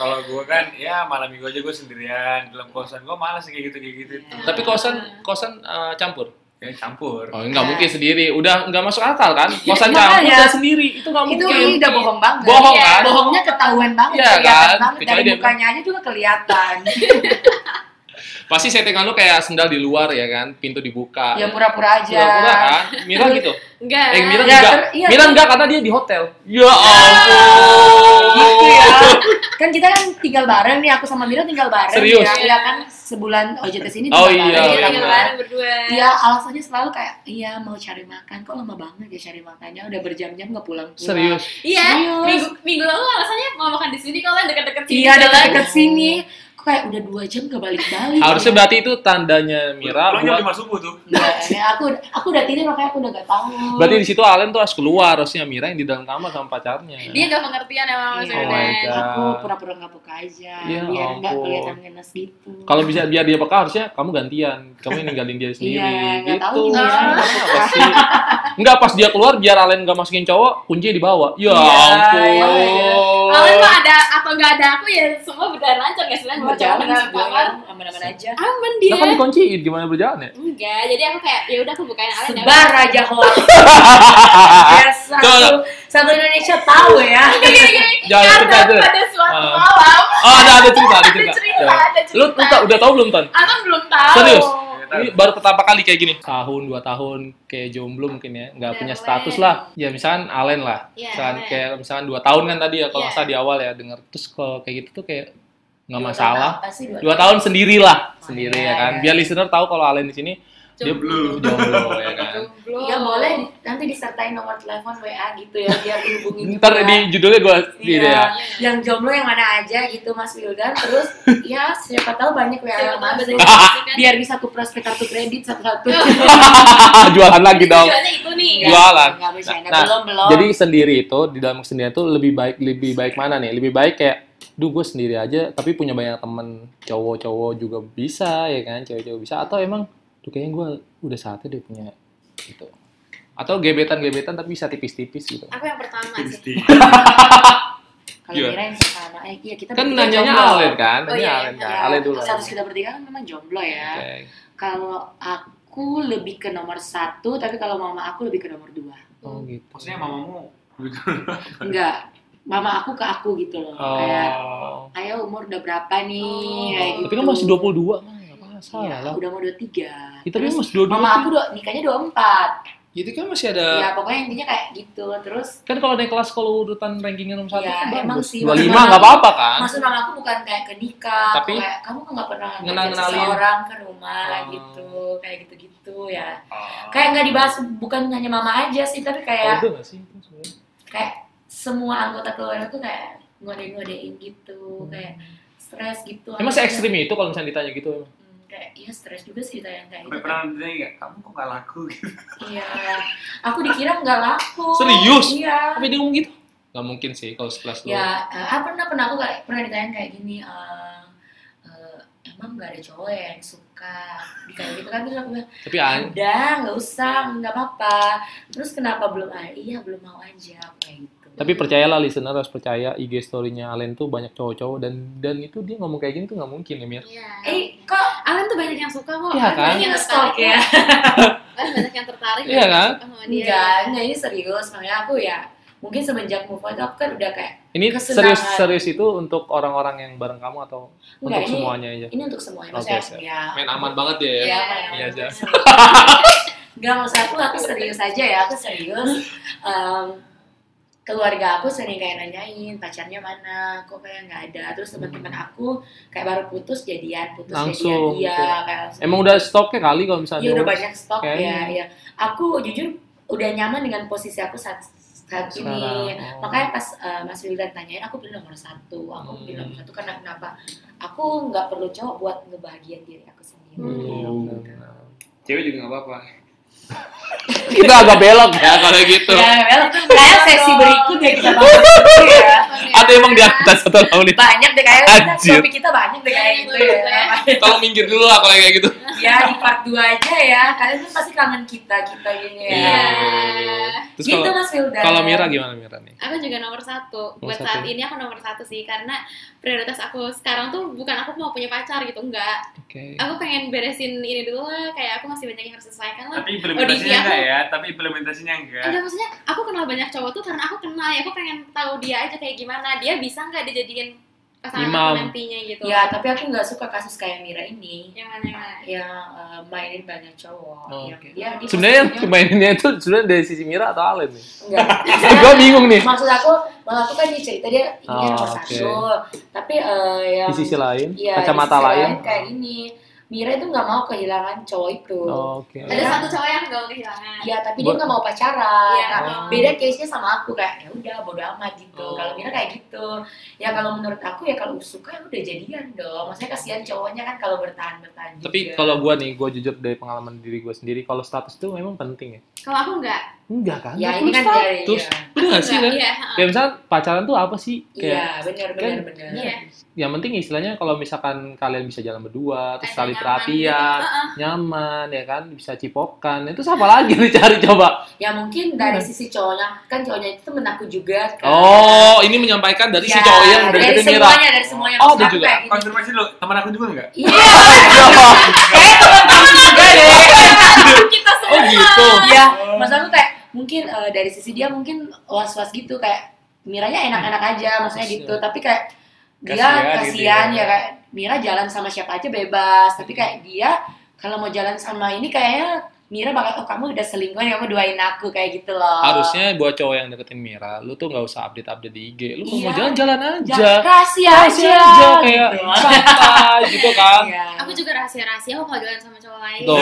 Speaker 4: Kalau gue kan ya malam minggu aja gue sendirian dalam kosan gue malas kayak gitu kayak gitu.
Speaker 3: Iya.
Speaker 1: Tapi kosan kosan eh, campur.
Speaker 4: Ya campur.
Speaker 1: Oh, nggak
Speaker 3: Iya.
Speaker 1: mungkin sendiri. Udah nggak masuk akal kan? Kosan campur
Speaker 3: Makanya.
Speaker 1: udah sendiri. Itu nggak
Speaker 3: Itu
Speaker 1: mungkin.
Speaker 3: ini udah bohong banget.
Speaker 1: Bohong
Speaker 2: Iya,
Speaker 1: kan?
Speaker 3: Bohongnya ketahuan banget,
Speaker 1: Iya
Speaker 3: kelihatan
Speaker 1: kan?
Speaker 3: banget
Speaker 1: Kecuali
Speaker 3: dari
Speaker 1: dia- Iya.
Speaker 3: mukanya aja juga
Speaker 1: <laughs>
Speaker 3: kelihatan.
Speaker 1: Pasti settingan lu kayak sendal di luar ya kan, pintu dibuka.
Speaker 3: ya pura-pura aja.
Speaker 1: Pura-pura kan? Mira gitu.
Speaker 2: Enggak.
Speaker 1: Eh, Mira
Speaker 3: Ya,
Speaker 1: enggak.
Speaker 3: ter- iya,
Speaker 1: Mira
Speaker 3: ter- Iya.
Speaker 1: enggak karena dia di hotel. Ya ampun.
Speaker 3: Gitu ya.
Speaker 1: Oh.
Speaker 3: Kan kita kan tinggal bareng nih, aku sama Mira tinggal bareng.
Speaker 1: Serius?
Speaker 3: Ya, Iya kan sebulan OJT sini
Speaker 1: Oh,
Speaker 3: tinggal
Speaker 1: iya,
Speaker 3: bareng.
Speaker 2: Iya,
Speaker 1: iya.
Speaker 2: tinggal bareng berdua.
Speaker 3: Iya, alasannya selalu kayak, iya mau cari makan, kok lama banget ya cari makannya, udah berjam-jam nggak pulang-pulang.
Speaker 1: Serius.
Speaker 2: Iya,
Speaker 3: Serius.
Speaker 2: minggu, minggu lalu alasannya mau makan di sini kalau deket-deket sini.
Speaker 3: Iya,
Speaker 2: jalan.
Speaker 3: dekat-dekat sini. Kok kayak udah dua jam gak balik-balik. ya?
Speaker 1: Harusnya berarti itu tandanya Mira
Speaker 4: Pulangnya
Speaker 1: buat
Speaker 4: lima subuh tuh.
Speaker 3: Nggak, ya, aku aku udah tidur makanya aku udah gak tahu.
Speaker 1: berarti di situ Alen tuh harus keluar harusnya Mira yang di dalam kamar sama pacarnya.
Speaker 2: Dia gak pengertian emang
Speaker 3: Iya,
Speaker 1: Oh my
Speaker 2: maksudnya.
Speaker 1: God.
Speaker 3: aku pura-pura nggak buka aja
Speaker 1: Ya
Speaker 3: biar nggak
Speaker 1: ampun.
Speaker 3: kelihatan ngenes gitu.
Speaker 1: Kalau bisa biar dia peka harusnya kamu gantian, kamu yang ninggalin dia sendiri
Speaker 3: Iya, nggak tahu
Speaker 1: gitu.
Speaker 3: nih, Mira nggak
Speaker 1: Apa sih? Enggak pas dia keluar biar Alen gak masukin cowok, kunci dibawa. Ya
Speaker 3: Iya, iya, iya.
Speaker 1: ampun.
Speaker 2: Kalau mah ada atau nggak ada aku ya semua berjalan lancar ya
Speaker 3: Kan
Speaker 2: sebenarnya mau coba
Speaker 3: berjalan
Speaker 2: dengan
Speaker 3: sih,
Speaker 2: kamar
Speaker 3: doang, aman-aman aja.
Speaker 2: aman
Speaker 1: Lah
Speaker 2: dia.
Speaker 1: kan dikunciin gimana berjalan
Speaker 2: <laughs>
Speaker 1: ya?
Speaker 2: Enggak, jadi aku kayak ya udah aku bukain Alen ya.
Speaker 3: Sebar aja hoax. Biasa
Speaker 1: Ah, Tuh.
Speaker 3: satu, satu Indonesia tahu ya.
Speaker 2: Gini, gini, gini.
Speaker 1: Jangan
Speaker 2: Karena
Speaker 1: cerita dulu.
Speaker 2: pada suatu
Speaker 1: Ah.
Speaker 2: malam
Speaker 1: Oh, ada ada cerita, ada
Speaker 2: ada
Speaker 1: cerita.
Speaker 2: cerita,
Speaker 1: Ya.
Speaker 2: ada
Speaker 1: Lu lu
Speaker 2: cerita.
Speaker 1: ta- udah tahu belum, Ton?
Speaker 2: Aku belum tahu.
Speaker 1: Serius?
Speaker 4: Ya, tahu.
Speaker 1: Ini baru pertama kali kayak gini. Tahun, dua tahun, kayak jomblo mungkin ya. Nggak
Speaker 2: Udah
Speaker 1: punya
Speaker 2: mulai.
Speaker 1: status lah. Ya, misalkan Alen lah.
Speaker 2: Iya,
Speaker 1: Misalkan
Speaker 2: Alen.
Speaker 1: kayak misalkan dua tahun kan tadi ya, kalau
Speaker 2: Iya.
Speaker 1: nggak salah di awal ya denger. Terus kalau kayak gitu tuh kayak nggak
Speaker 3: Dua
Speaker 1: masalah.
Speaker 3: tahun apa sih, dua
Speaker 1: Dua tahun sendirilah,
Speaker 3: Oh,
Speaker 1: sendiri
Speaker 3: iya,
Speaker 1: ya kan.
Speaker 3: iya.
Speaker 1: Biar listener tahu kalau Alen di sini dia
Speaker 2: Jomblo.
Speaker 3: <laughs>
Speaker 1: jomblo ya kan.
Speaker 2: Jomblo.
Speaker 3: Iya boleh kan nanti disertai nomor telepon WA gitu ya biar dihubungi
Speaker 1: Ntar di judulnya gue gitu
Speaker 3: Iya.
Speaker 1: ya. <laughs>
Speaker 3: yang jomblo yang mana aja gitu Mas Wildan terus ya siapa tahu banyak WA
Speaker 2: Siapa
Speaker 1: <laughs>
Speaker 3: yang
Speaker 2: tahu
Speaker 3: masuk.
Speaker 2: betul kan?
Speaker 3: biar bisa aku prospek kartu kredit satu-satu <laughs>
Speaker 1: Jualan lagi dong.
Speaker 2: Tujuannya itu nih.
Speaker 1: Iya. Jualan.
Speaker 3: nggak bercanda
Speaker 1: Nah,
Speaker 3: belum belum
Speaker 1: Jadi sendiri itu di dalam kesendirian itu lebih baik lebih baik mana nih? Lebih baik kayak duh gue sendiri aja tapi punya banyak temen cowok-cowok juga bisa ya kan cewek-cewek bisa atau emang tuh kayaknya gue udah saatnya deh punya gitu atau gebetan-gebetan tapi bisa tipis-tipis gitu
Speaker 2: Aku yang pertama sih.
Speaker 4: Pasti.
Speaker 3: kalau
Speaker 1: Iya.
Speaker 3: kirain pertama eh iya kita
Speaker 1: kan
Speaker 3: bertiga
Speaker 1: nanyanya
Speaker 3: jomblo.
Speaker 1: Alen kan
Speaker 2: Oh,
Speaker 1: nanya
Speaker 2: iya,
Speaker 1: Alen
Speaker 2: iya.
Speaker 1: kan Alen dulu
Speaker 3: status kita bertiga kan memang jomblo ya
Speaker 1: Oke.
Speaker 3: kalau aku lebih ke nomor satu tapi kalau mama aku lebih ke nomor dua
Speaker 1: oh gitu
Speaker 4: Maksudnya mamamu
Speaker 3: enggak mama aku ke aku gitu loh kayak
Speaker 1: oh
Speaker 3: ayo umur udah berapa nih
Speaker 2: Oh.
Speaker 3: kayak gitu.
Speaker 1: tapi kan masih 22 mah nggak
Speaker 3: Iya,
Speaker 1: masalah lah
Speaker 3: udah mau 23
Speaker 1: kita
Speaker 3: Terus
Speaker 1: kan masih 22
Speaker 3: mama aku dua, nikahnya 24
Speaker 1: jadi kan masih ada
Speaker 3: ya pokoknya intinya kayak gitu terus
Speaker 1: kan kalau naik kelas kalau urutan rankingnya nomor satu
Speaker 3: Iya,
Speaker 1: kan
Speaker 3: emang
Speaker 1: bagus.
Speaker 3: sih.
Speaker 1: 25
Speaker 3: Maksudnya-
Speaker 1: nggak apa-apa kan
Speaker 3: maksud mama aku bukan kayak ke nikah
Speaker 1: Tapi
Speaker 3: kayak kamu kok nggak pernah ngajak
Speaker 1: ngenal-ngenalin.
Speaker 3: seseorang ke rumah
Speaker 1: Oh.
Speaker 3: gitu kayak gitu gitu ya
Speaker 4: Ah.
Speaker 3: kayak nggak dibahas bukan hanya mama aja sih tapi
Speaker 1: Oh,
Speaker 3: kayak gitu,
Speaker 1: udah nggak sih itu sebenarnya?
Speaker 3: kayak semua anggota keluarga tuh kayak ngode-ngodein gitu kayak stres gitu
Speaker 1: Hmm. emang se
Speaker 3: Akhirnya-
Speaker 1: ekstrim itu kalau misalnya ditanya gitu emang
Speaker 3: Hmm, kayak iya stres juga sih ditanya kayak
Speaker 4: Sampai
Speaker 3: gitu
Speaker 4: pernah ditanya nggak, kamu kok nggak laku gitu?
Speaker 3: iya aku dikira nggak laku
Speaker 1: Serius?
Speaker 3: iya
Speaker 1: tapi dia ngomong gitu nggak mungkin sih kalau sekelas dulu
Speaker 3: ya eh, ah, pernah pernah aku kayak pernah ditanya kayak gini eh, eh, emang nggak ada cowok ya yang suka kayak gitu kan terus aku bilang
Speaker 1: tapi an
Speaker 3: ada nggak usah nggak apa-apa terus kenapa belum ada iya belum mau aja aku kayak gitu
Speaker 1: tapi percayalah listener harus percaya IG story-nya Alen tuh banyak cowok-cowok dan dan itu dia ngomong kayak gini tuh nggak mungkin ya Mir
Speaker 2: Iya. Eh,
Speaker 3: eh kok
Speaker 2: Alan tuh banyak yang suka kok.
Speaker 1: Iya,
Speaker 2: Alan
Speaker 1: kan?
Speaker 2: banyak yang tertarik.
Speaker 3: ngestalk ya
Speaker 2: Alan banyak yang tertarik.
Speaker 1: Iya, kan?
Speaker 2: Suka sama dia.
Speaker 3: enggak enggak ini serius makanya aku ya mungkin semenjak move on tuh aku kan udah kayak
Speaker 1: ini
Speaker 3: Kesenangan.
Speaker 1: serius serius itu untuk orang-orang yang bareng kamu atau
Speaker 3: enggak
Speaker 1: untuk
Speaker 3: ini Iya.
Speaker 1: semuanya aja
Speaker 3: ini untuk semuanya
Speaker 1: Oke,
Speaker 3: maksudnya
Speaker 1: siap.
Speaker 3: ya
Speaker 1: main aman banget ya
Speaker 2: Iya.
Speaker 1: Iya aja.
Speaker 3: Gak maksud aku, aku serius aja ya, aku serius. Em, keluarga aku sering kayak nanyain pacarnya mana, kok kayak nggak ada. Terus teman-teman aku kayak baru putus jadian, putus
Speaker 1: Langsung,
Speaker 3: jadian,
Speaker 1: gitu.
Speaker 3: iya kayak langsung.
Speaker 1: emang udah stoknya kali kalau misalnya
Speaker 3: Iya udah
Speaker 1: diurus.
Speaker 3: banyak stok
Speaker 1: Kayaknya.
Speaker 3: ya, ya. Aku jujur udah nyaman dengan posisi aku saat saat ini.
Speaker 1: Sekarang. Oh.
Speaker 3: Makanya pas eh, Mas Wildan tanyain, aku pilih nomor satu. Aku
Speaker 1: Hmm.
Speaker 3: pilih nomor satu karena kenapa? Aku nggak perlu cowok buat ngebahagiain diri aku sendiri.
Speaker 1: Hmm.
Speaker 4: Cewek juga nggak apa-apa.
Speaker 1: kita agak belok ya kalau gitu
Speaker 3: Ya, well, kayak sesi berikutnya kita bahas gitu
Speaker 2: Iya.
Speaker 3: ya.
Speaker 1: atau emang di atas atau lawan itu
Speaker 3: Banyak deh kayak kita,
Speaker 1: Anjir.
Speaker 3: topik kita banyak deh kayak gitu ya.
Speaker 1: tolong minggir dulu lah kalau kayak gitu
Speaker 3: Ya di part 2 aja ya. Kalian tuh pasti kangen kita kita gini ya.
Speaker 1: Iya. terus
Speaker 3: Gitu
Speaker 1: kalau
Speaker 3: Mas Wildan.
Speaker 1: kalau Mira gimana Mira nih
Speaker 2: Aku juga nomor satu.
Speaker 1: Nomor
Speaker 2: Buat saat
Speaker 1: satu.
Speaker 2: ini aku nomor satu sih karena prioritas aku sekarang tuh bukan aku mau punya pacar gitu enggak.
Speaker 1: oke
Speaker 2: Aku pengen beresin ini dulu lah. Kayak aku masih banyak yang harus selesaikan lah.
Speaker 4: Tapi implementasinya
Speaker 2: aku-
Speaker 4: enggak ya, tapi implementasinya
Speaker 3: ya.
Speaker 4: enggak.
Speaker 2: Enggak maksudnya aku kenal banyak cowok tuh karena aku kenal ya aku pengen tahu dia aja kayak gimana dia bisa nggak dijadiin pasangan
Speaker 1: Imam.
Speaker 2: aku nantinya gitu
Speaker 3: Ya, tapi aku nggak suka kasus kayak Mira ini
Speaker 2: yang mana yang mana
Speaker 3: yang eh, mainin banyak cowok.
Speaker 1: Oh,
Speaker 3: yang
Speaker 1: oke.
Speaker 3: dia, dia
Speaker 1: sebenarnya yang
Speaker 3: posisinya-
Speaker 1: kemaininnya itu sebenarnya dari sisi Mira atau Alen nih <laughs>
Speaker 3: Enggak.
Speaker 1: gue bingung nih
Speaker 3: Maksud aku, maksud aku kan dia cerita dia ini
Speaker 1: Oh, oke.
Speaker 3: nomor satu, tapi eh, yang
Speaker 1: di sisi lain
Speaker 3: Iya,
Speaker 1: kacamata
Speaker 3: di sisi
Speaker 1: lain
Speaker 3: kayak ini Mira itu nggak mau kehilangan cowok itu
Speaker 1: Oh, oke
Speaker 2: ada satu cowok yang gak kehilangan
Speaker 3: Iya, tapi dia
Speaker 1: Buat-
Speaker 3: nggak mau pacaran
Speaker 2: Iya.
Speaker 3: Nah,
Speaker 1: Oh.
Speaker 3: beda case nya sama aku kayak ya udah bodo amat gitu
Speaker 1: Oh.
Speaker 3: kalau Mira kayak gitu ya kalau menurut aku ya kalau suka ya udah jadian dong maksudnya kasihan cowoknya kan kalau bertahan bertahan
Speaker 1: tapi kalau gue nih gue jujur dari pengalaman diri gue sendiri kalau status itu memang penting ya
Speaker 2: kalau aku enggak
Speaker 1: enggak kan
Speaker 3: ya
Speaker 1: Aku
Speaker 3: ini kan
Speaker 1: status.
Speaker 3: dari ya.
Speaker 1: udah nggak sih kan
Speaker 2: iya
Speaker 1: kayak misalnya pacaran tuh apa sih
Speaker 3: iya
Speaker 1: kayak kan
Speaker 3: benar benar benar
Speaker 2: iya
Speaker 1: yang penting istilahnya kalau misalkan kalian bisa jalan berdua terus
Speaker 2: Ada
Speaker 1: saling
Speaker 2: nyaman
Speaker 1: perhatian
Speaker 2: gitu. Heeh.
Speaker 1: nyaman ya kan bisa cipokan itu apa lagi lu cari coba
Speaker 3: ya mungkin dari sisi cowoknya kan cowoknya itu temen aku juga kan.
Speaker 1: oh ini menyampaikan dari si
Speaker 3: Ya,
Speaker 1: cowok yang dari
Speaker 3: dari
Speaker 1: itu Mira
Speaker 3: semuanya dari semuanya
Speaker 1: Oh,
Speaker 3: Maksud
Speaker 1: dia
Speaker 3: aku
Speaker 1: juga.
Speaker 3: kayak gitu.
Speaker 4: Konfirmasi dulu, teman aku juga enggak?
Speaker 3: iya
Speaker 1: <laughs>
Speaker 3: kayak teman kamu ya? juga deh
Speaker 2: kita semua
Speaker 1: oh gitu
Speaker 3: ya maksud aku kayak mungkin eh, dari sisi dia mungkin was was gitu kayak miranya enak enak aja
Speaker 1: Hmm.
Speaker 3: maksudnya gitu tapi kayak dia
Speaker 4: Kasihan gitu
Speaker 3: kasihan
Speaker 4: ya.
Speaker 3: ya kayak Mira jalan sama siapa aja bebas tapi kayak dia kalau mau jalan sama ini kayaknya Mira bakal oh kamu udah selingkuh nih, kamu duain aku kayak gitu loh
Speaker 1: harusnya buat cowok yang deketin Mira lu tuh nggak usah update update di IG lu kalau
Speaker 3: Iya.
Speaker 1: mau jalan jalan aja
Speaker 3: jangan rahasia
Speaker 1: Kasih
Speaker 3: aja,
Speaker 1: aja kayak Iya.
Speaker 3: gitu.
Speaker 1: santai gitu kan
Speaker 3: Iya.
Speaker 2: Oh.
Speaker 3: <laughs>
Speaker 2: aku juga rahasia rahasia aku kalau jalan sama cowok lain
Speaker 1: tuh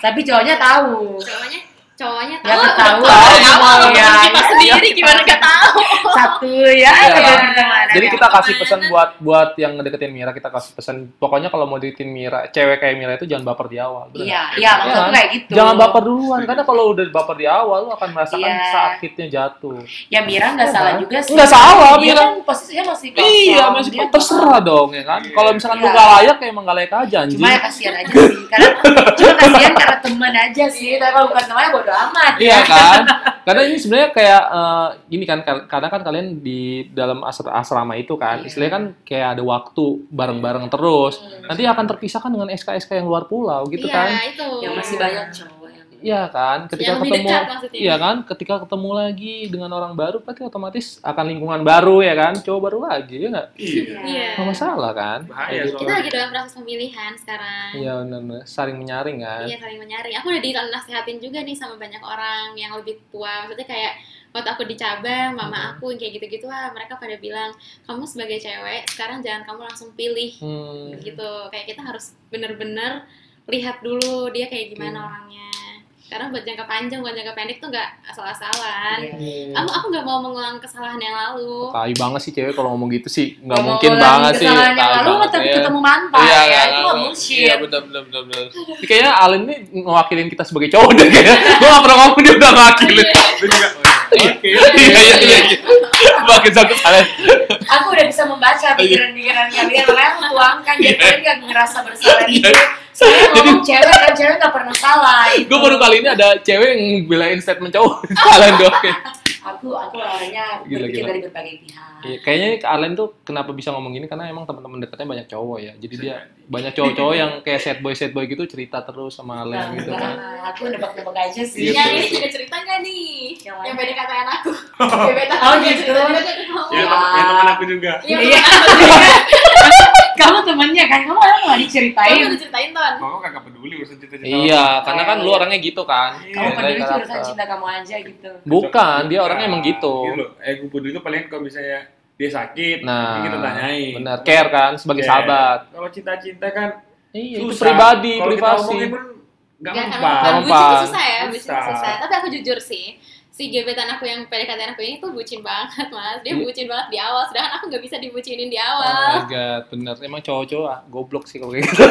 Speaker 3: tapi cowoknya tahu
Speaker 2: cowoknya cowoknya
Speaker 3: Ya,
Speaker 2: tahu
Speaker 3: ketahuan.
Speaker 2: tahu
Speaker 3: Iya,
Speaker 2: ya,
Speaker 3: iya,
Speaker 2: sendiri
Speaker 3: iya.
Speaker 2: gimana gak tahu
Speaker 3: satu ya
Speaker 1: Iya.
Speaker 3: kedua pertemanan
Speaker 1: Jadi
Speaker 3: ya.
Speaker 1: kita kasih pesan
Speaker 2: pertemanan.
Speaker 1: buat buat yang ngedeketin Mira, kita kasih pesan pokoknya kalau mau deketin Mira, cewek kayak Mira itu jangan baper di awal. bener.
Speaker 3: iya iya maksud aku kayak gitu
Speaker 1: Jangan baper duluan karena kalau udah baper di awal lo akan merasakan
Speaker 3: Iya.
Speaker 1: sakitnya jatuh.
Speaker 3: ya Mira nggak
Speaker 1: Iya,
Speaker 3: salah
Speaker 1: kan?
Speaker 3: juga sih
Speaker 1: Nggak salah,
Speaker 3: dia
Speaker 1: Mira.
Speaker 3: kan posisinya masih kosong
Speaker 1: Iya, masih
Speaker 3: Dia-
Speaker 1: terserah dong ya kan. Kalau misalkan lu
Speaker 3: Iya.
Speaker 1: gak layak ya emang gak layak aja anjing.
Speaker 3: cuma ya kasihan aja sih karena cuma kasihan karena teman aja sih tapi kalau bukan temannya bodo amat
Speaker 1: Iya kan? Karena ini sebenarnya kayak eh, gini kan, kar- karena kan kalian di dalam asra- asrama itu kan,
Speaker 3: Iya.
Speaker 1: istilahnya kan kayak ada waktu bareng-bareng terus.
Speaker 3: Hmm.
Speaker 1: Nanti akan terpisahkan dengan SK-SK yang luar pulau gitu kan.
Speaker 2: iya itu
Speaker 3: yang Ya, masih banyak cowok yang
Speaker 1: Iya kan, ketika
Speaker 2: yang lebih
Speaker 1: ketemu
Speaker 2: dekat maksudnya
Speaker 1: Iya kan, ketika ketemu lagi dengan orang baru, pasti otomatis akan lingkungan baru ya kan, cowok baru lagi ya nggak,
Speaker 4: Iya.
Speaker 2: Iya.
Speaker 1: nggak masalah kan?
Speaker 4: Bahaya
Speaker 1: Kayak gitu.
Speaker 2: kita lagi dalam proses pemilihan sekarang
Speaker 1: Iya benar, saling menyaring kan.
Speaker 2: Iya saling menyaring. Aku udah dinasehatin juga nih sama banyak orang yang lebih tua. Maksudnya kayak waktu aku di cabang,
Speaker 1: Hmm.
Speaker 2: mama aku yang kayak gitu-gitu ah mereka pada bilang kamu sebagai cewek sekarang jangan kamu langsung pilih
Speaker 1: Hmm.
Speaker 2: gitu. Kayak kita harus bener-bener lihat dulu dia kayak gimana
Speaker 1: Hmm.
Speaker 2: orangnya. Karena buat jangka panjang, buat jangka pendek tuh nggak asal-asalan.
Speaker 1: Hmm.
Speaker 2: Aku aku nggak mau mengulang kesalahan yang lalu.
Speaker 1: Tai banget sih cewek kalau ngomong gitu sih, nggak
Speaker 3: Ngomong
Speaker 1: mungkin
Speaker 3: lagi
Speaker 1: banget sih.
Speaker 3: kesalahan yang
Speaker 1: Tai
Speaker 3: lalu
Speaker 1: banget,
Speaker 3: tapi
Speaker 1: iya.
Speaker 3: ketemu mantan
Speaker 1: Iya,
Speaker 3: ya
Speaker 1: nggak,
Speaker 3: itu
Speaker 1: nggak,
Speaker 3: mah
Speaker 1: nggak.
Speaker 3: bullshit
Speaker 1: Iya benar benar benar. benar. Ini Kayaknya Alin ini mewakilin kita sebagai cowok deh kayaknya. Gua nggak pernah ngomong dia udah mewakilin.
Speaker 4: Oh,
Speaker 1: Oke. Iya iya iya. iya. Makin sakit Alin.
Speaker 3: aku udah bisa membaca
Speaker 1: Iya.
Speaker 3: pikiran-pikiran kalian makanya aku tuangkan jadi kalian nggak ngerasa
Speaker 1: Iya.
Speaker 3: bersalah gitu saya ngomong cewek kan cewek nggak pernah salah gitu.
Speaker 1: Gue baru kali ini ada cewek yang belain statement cowok. <laughs> Alin doang. kayak.
Speaker 3: aku aku orangnya
Speaker 1: Gila,
Speaker 3: berpikir
Speaker 1: gila.
Speaker 3: dari berbagai pihak
Speaker 1: Iya, kayaknya ini Alin tuh kenapa bisa ngomong gini karena emang teman-teman dekatnya banyak cowok ya. Jadi dia banyak cowok-cowok yang kayak sad boy sad boy gitu cerita terus sama
Speaker 3: Nah,
Speaker 1: Alin gitu kan.
Speaker 3: aku nebak-nebak aja sih.
Speaker 1: Iya,
Speaker 2: Yang
Speaker 1: betul.
Speaker 2: ini juga cerita nggak nih? Yang,
Speaker 3: Yang mana?
Speaker 2: beda kataan
Speaker 1: <laughs>
Speaker 2: aku. Gebetan
Speaker 3: Oh,
Speaker 2: aku
Speaker 3: gitu.
Speaker 2: cerita juga tuh kamu.
Speaker 1: Iya,
Speaker 4: Ya, teman- ya, teman aku juga.
Speaker 2: Iya,
Speaker 3: Iya. Kamu temennya kan, kamu orang nggak
Speaker 2: kamu
Speaker 3: diceritain.
Speaker 2: udah ceritain ton.
Speaker 1: Oh,
Speaker 4: Kamu kagak peduli urusan cerita-cerita.
Speaker 1: Iya, karena kan lu orangnya gitu kan.
Speaker 4: Kamu
Speaker 3: Kamu
Speaker 1: Kayak
Speaker 3: peduli itu
Speaker 1: karakter.
Speaker 3: urusan cinta kamu aja
Speaker 1: <laughs>
Speaker 3: gitu.
Speaker 1: Bukan,
Speaker 4: Iya.
Speaker 1: dia orangnya emang gitu.
Speaker 4: loh. Eh, gue peduli itu paling kalau misalnya dia sakit,
Speaker 1: Nah,
Speaker 4: nanti kita tanyain.
Speaker 1: benar. Care kan sebagai
Speaker 4: Care.
Speaker 1: sahabat.
Speaker 4: Kalau cinta-cinta kan
Speaker 1: Iya, itu
Speaker 4: susah.
Speaker 1: pribadi,
Speaker 4: Kalau kita
Speaker 1: privasi.
Speaker 4: omongin pun nggak
Speaker 2: Gak
Speaker 4: mempan.
Speaker 1: Nggak
Speaker 2: mempan. Bucin
Speaker 1: mempan.
Speaker 2: tuh susah ya, bucin tuh
Speaker 4: Susah.
Speaker 2: susah. Tapi aku jujur sih, si gebetan aku yang PDKT aku ini tuh bucin banget, Mas. Dia
Speaker 1: Iya.
Speaker 2: bucin banget di awal, sedangkan aku nggak bisa dibucinin di
Speaker 1: Oh my
Speaker 2: awal.
Speaker 1: god, bener. Emang cowok-cowok ah, goblok sih kalau kayak gitu.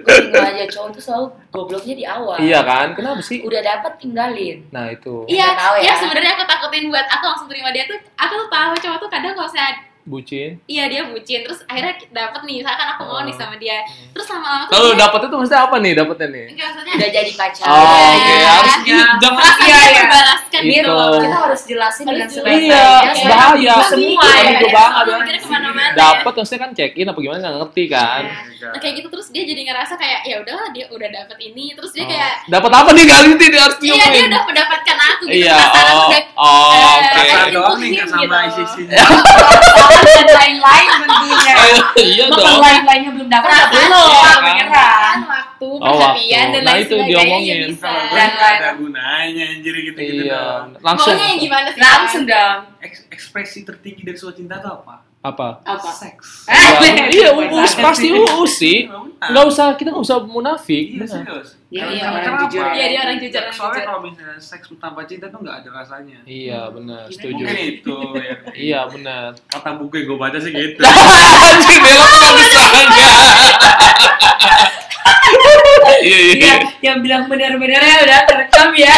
Speaker 3: Gue tinggal aja cowok tuh selalu gobloknya di awal.
Speaker 1: iya kan? Kenapa sih?
Speaker 3: Udah dapet tinggalin.
Speaker 1: Nah itu,
Speaker 2: Iya,
Speaker 3: Nggak tahu ya.
Speaker 2: iya sebenarnya aku takutin buat aku langsung terima dia tuh. Aku tuh tahu cowok tuh kadang kalau saya
Speaker 1: bucin.
Speaker 2: iya dia bucin, terus akhirnya dapet nih, misalkan aku mau nih sama dia. Terus lama-lama
Speaker 1: Ah.
Speaker 2: tuh
Speaker 1: Lalu
Speaker 2: dia-
Speaker 1: dapetnya tuh maksudnya apa nih dapetnya nih?
Speaker 2: enggak maksudnya
Speaker 3: Udah jadi pacar.
Speaker 1: Oh, oke, harus
Speaker 3: Ya.
Speaker 1: gitu. Jangan
Speaker 2: rasanya
Speaker 3: Iya, iya.
Speaker 2: terbalaskan
Speaker 1: Itu.
Speaker 2: gitu loh.
Speaker 3: Kita harus jelasin
Speaker 2: Harus
Speaker 3: dengan
Speaker 2: jelasin.
Speaker 1: Iya,
Speaker 3: sebaik-baiknya.
Speaker 2: Iya,
Speaker 3: soalnya
Speaker 1: bahaya.
Speaker 3: Semua
Speaker 2: Iya,
Speaker 3: ya.
Speaker 1: Aduh,
Speaker 2: iya.
Speaker 1: banget.
Speaker 2: Aku mikirnya kemana-mana.
Speaker 1: Dapet maksudnya kan check in apa gimana nggak ngerti kan?
Speaker 2: Iya. Nah, kayak gitu terus dia jadi ngerasa kayak ya udahlah dia udah dapet ini terus dia
Speaker 1: Oh.
Speaker 2: kayak
Speaker 1: Dapat apa nih kali ini dia harus
Speaker 2: iya dia
Speaker 1: nyiupin?
Speaker 2: udah mendapatkan aku gitu
Speaker 1: Iya,
Speaker 2: perasaan aku
Speaker 1: oh,
Speaker 2: udah
Speaker 1: oh,
Speaker 2: eh,
Speaker 1: oke.
Speaker 4: Perasaan doang
Speaker 2: Kayak gitu
Speaker 4: nih nggak
Speaker 2: sih,
Speaker 4: sama
Speaker 2: gitu. <laughs>
Speaker 4: isi-isinya.
Speaker 3: Dan lain-lain tentunya.
Speaker 1: Iya
Speaker 3: Kalau
Speaker 1: dong.
Speaker 3: lain-lainnya belum dapet, ya
Speaker 2: perasaan
Speaker 3: belum.
Speaker 1: Iya,
Speaker 2: perasaan,
Speaker 3: Beneran.
Speaker 2: waktu
Speaker 1: Oh,
Speaker 2: perhatian
Speaker 1: waktu.
Speaker 2: dan
Speaker 1: Nah,
Speaker 2: lain
Speaker 1: itu
Speaker 2: sebagainya
Speaker 1: diomongin.
Speaker 2: ya bisa
Speaker 4: Kalau gue
Speaker 3: Dan
Speaker 4: nggak ada
Speaker 3: lain.
Speaker 4: gunanya anjir gitu-gitu
Speaker 1: Iya,
Speaker 4: doang.
Speaker 1: langsung.
Speaker 2: maunya yang gimana sih
Speaker 3: Langsung dong.
Speaker 4: Eks- ekspresi tertinggi dari sebuah cinta itu apa?
Speaker 1: Apa?
Speaker 3: Apa? Eh,
Speaker 4: Seks.
Speaker 2: Eh,
Speaker 1: Iya, iya, uus pasti uus sih. Nggak
Speaker 4: Enggak
Speaker 1: usah, kita nggak usah
Speaker 4: Iya,
Speaker 1: munafik. bener.
Speaker 4: serius.
Speaker 3: Iya,
Speaker 4: Karena-
Speaker 3: iya,
Speaker 4: karena
Speaker 3: orang
Speaker 4: kenapa?
Speaker 3: jujur.
Speaker 2: Iya, dia orang jujur, orang
Speaker 4: Soalnya
Speaker 2: jujur.
Speaker 4: kalau misalnya seks tanpa cinta tuh nggak ada rasanya.
Speaker 1: Iya, benar, setuju.
Speaker 4: Mungkin itu ya.
Speaker 1: Iya, benar.
Speaker 4: Kata buku yang gue baca sih gitu.
Speaker 1: Anjing, belok nggak bisa Iya, iya.
Speaker 3: Iya, yang bilang benar-benar ya udah terekam ya.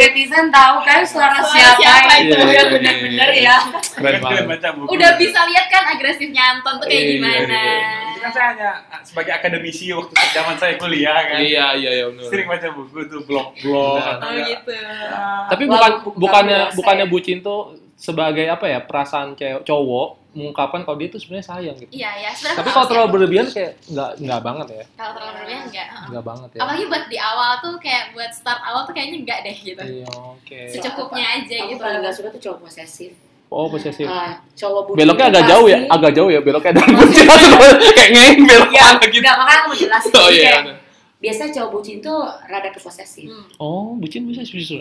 Speaker 3: Netizen tahu kan suara
Speaker 2: Suara
Speaker 3: siapa,
Speaker 2: siapa
Speaker 3: itu
Speaker 1: itu.
Speaker 3: yang benar-benar
Speaker 1: iya,
Speaker 3: ya.
Speaker 1: <laughs> Keren
Speaker 4: Kan gue
Speaker 1: banget.
Speaker 4: baca buku.
Speaker 2: udah bisa lihat kan agresifnya Anton tuh kayak
Speaker 1: Iya,
Speaker 2: gimana
Speaker 1: iya.
Speaker 4: Itu kan saya hanya sebagai akademisi waktu zaman saya kuliah kan.
Speaker 1: Iya, iya, iya,
Speaker 4: Sering
Speaker 1: benar.
Speaker 4: baca buku tuh blog-blog.
Speaker 1: Benar.
Speaker 4: atau
Speaker 2: oh
Speaker 4: enggak.
Speaker 2: gitu
Speaker 1: Nah, Tapi
Speaker 3: Wah,
Speaker 1: bukan
Speaker 3: buku
Speaker 1: bukannya
Speaker 3: kamu
Speaker 1: bukannya
Speaker 3: dewasa
Speaker 1: bucin tuh sebagai apa ya perasaan cewek cowok mengungkapkan kalau dia tuh sebenarnya sayang gitu.
Speaker 2: iya ya sebenarnya
Speaker 1: Tapi kalau
Speaker 2: aku tahu sih,
Speaker 1: terlalu
Speaker 2: aku-
Speaker 1: berlebihan kayak nggak nggak banget
Speaker 3: Ah.
Speaker 1: ya,
Speaker 2: kalau terlalu berlebihan enggak heeh.
Speaker 1: nggak banget ya.
Speaker 2: apalagi buat di awal tuh kayak buat start awal tuh kayaknya enggak deh gitu
Speaker 1: Iya, oke.
Speaker 2: secukupnya aja
Speaker 3: Aku
Speaker 2: gitu
Speaker 3: paling gak suka tuh cowok posesif.
Speaker 1: Oh, posesif.
Speaker 3: Ah, cowok bucin
Speaker 1: Beloknya
Speaker 3: tuh
Speaker 1: agak jauh ya,
Speaker 3: pasti-
Speaker 1: agak jauh ya beloknya dari bucin <laughs> kayak ngeng belok
Speaker 3: Ya,
Speaker 1: mana gitu.
Speaker 3: Enggak, makanya aku mau jelasin.
Speaker 1: Oh
Speaker 3: Jadi
Speaker 1: iya.
Speaker 3: kayak, Biasanya cowok bucin tuh rada ke posesif.
Speaker 2: Hmm.
Speaker 1: Oh, bucin bisa justru.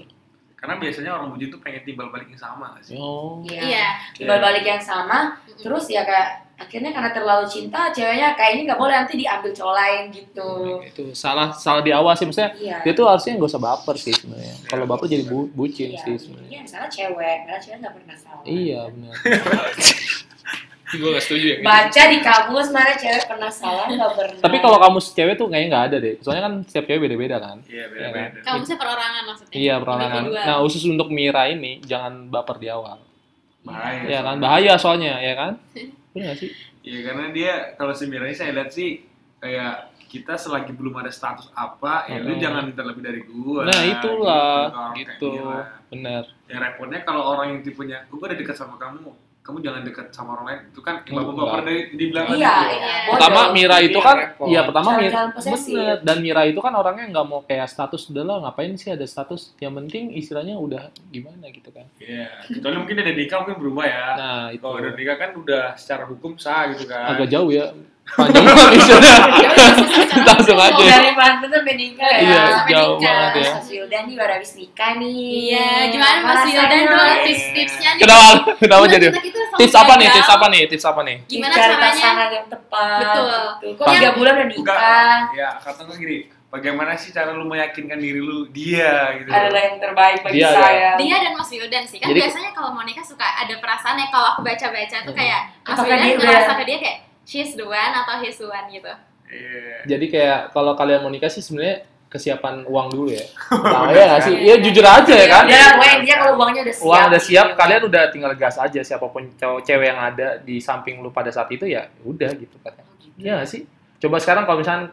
Speaker 4: Karena biasanya orang bucin
Speaker 3: Gitu.
Speaker 4: tuh pengen timbal balik yang sama nggak sih.
Speaker 1: Oh.
Speaker 2: iya
Speaker 3: Timbal balik yang sama, terus ya kayak akhirnya karena terlalu cinta ceweknya kayak ini nggak boleh nanti diambil cowok lain gitu
Speaker 1: itu salah salah di awal sih maksudnya
Speaker 3: iya
Speaker 1: Hmm. dia tuh harusnya nggak usah baper sih sebenarnya kalau baper jadi bu- bucin
Speaker 3: iya
Speaker 1: sih
Speaker 3: iya
Speaker 1: sebenarnya
Speaker 3: misalnya cewek karena cewek nggak pernah salah
Speaker 1: iya
Speaker 5: <laughs>
Speaker 1: benar
Speaker 5: gue gak setuju ya kayak
Speaker 3: baca di kamus mana cewek pernah salah
Speaker 1: <laughs>
Speaker 3: nggak pernah
Speaker 1: tapi kalau kamu cewek tuh kayaknya nggak ada deh soalnya kan setiap cewek beda-beda kan
Speaker 4: Iya, beda-beda.
Speaker 2: Kamu sih perorangan maksudnya.
Speaker 1: iya perorangan
Speaker 2: Individual.
Speaker 1: nah khusus untuk Mira ini jangan baper di awal
Speaker 5: Iya,
Speaker 4: Bahaya.
Speaker 1: ya kan
Speaker 4: soalnya.
Speaker 1: bahaya soalnya ya
Speaker 3: <laughs>
Speaker 1: kan benar nggak sih
Speaker 4: Iya, karena dia kalau si Mira ini saya lihat sih kayak kita selagi belum ada status apa, ya lu
Speaker 1: Hmm.
Speaker 4: jangan minta lebih dari gua.
Speaker 1: nah itulah
Speaker 4: kalau kayak
Speaker 1: gitu
Speaker 4: Mira.
Speaker 1: benar
Speaker 4: Ya repotnya kalau orang yang tipenya, gua udah dekat sama kamu, kamu jangan dekat sama orang lain. Itu kan
Speaker 1: Enggak.
Speaker 4: yang baper dari dibilang tadi
Speaker 3: iya
Speaker 4: tuh.
Speaker 3: iya
Speaker 2: Bodoh.
Speaker 1: pertama
Speaker 3: Bodoh.
Speaker 1: Mira itu
Speaker 5: Iya,
Speaker 1: kan
Speaker 5: repot.
Speaker 1: iya pertama Mira
Speaker 3: Jangan posesif.
Speaker 1: bener. dan Mira itu kan orangnya nggak mau kayak status udah lah ngapain sih ada status yang penting istilahnya udah gimana gitu kan
Speaker 4: Iya. Kecuali mungkin ada nikah mungkin berubah ya.
Speaker 1: nah itu
Speaker 4: Kalau udah nikah kan udah secara hukum sah gitu kan.
Speaker 1: agak jauh
Speaker 5: <laughs>
Speaker 1: ya panjang <laughs> banget istilahnya langsung aja ya.
Speaker 3: dari Banten sampai nikah ya
Speaker 1: iya
Speaker 2: sampai
Speaker 1: jauh
Speaker 2: nikah.
Speaker 1: banget ya
Speaker 3: Mas Wildan nih baru habis nikah nih
Speaker 2: Iya, gimana Mas
Speaker 3: Rasanya.
Speaker 2: Wildan dong
Speaker 4: Iya.
Speaker 2: tips-tipsnya nih?
Speaker 1: kenapa kenapa
Speaker 2: Gimana
Speaker 1: jadi
Speaker 2: kita- kita selalu
Speaker 1: tips apa nih
Speaker 2: gagal?
Speaker 1: tips apa nih tips apa nih
Speaker 2: Gimana
Speaker 3: Cari
Speaker 2: caranya?
Speaker 3: pasangan yang tepat
Speaker 2: Betul.
Speaker 3: gitu. kok tiga
Speaker 2: Yang-
Speaker 3: bulan udah nikah
Speaker 4: Ya, kata gue gini, bagaimana sih cara lu meyakinkan diri lu dia gitu.
Speaker 1: Iya.
Speaker 3: adalah yang terbaik bagi
Speaker 1: Dia ada.
Speaker 3: saya
Speaker 2: Dia dan Mas Wildan sih kan
Speaker 1: Jadi-
Speaker 2: biasanya kalau mau nikah suka ada perasaan ya kalau aku baca-baca tuh
Speaker 1: Hmm.
Speaker 2: kayak Mas
Speaker 3: Apakah
Speaker 2: Wildan
Speaker 3: dia udah-
Speaker 2: ngerasa ke dia kayak she's the one atau he's the one gitu.
Speaker 4: Iya.
Speaker 1: jadi kayak kalau kalian mau nikah sih sebenarnya kesiapan uang dulu
Speaker 3: <laughs>
Speaker 1: ya nah, ya nggak sih
Speaker 2: Iya.
Speaker 1: ya jujur aja ya kan
Speaker 3: Udah lah, pokoknya dia kalau uangnya udah Iya, siap
Speaker 1: uang udah siap kan?
Speaker 3: gitu.
Speaker 1: kalian udah tinggal gas aja siapapun cowok cewek yang ada di samping lu pada saat itu ya udah gitu katanya iya nggak sih coba sekarang kalau misalnya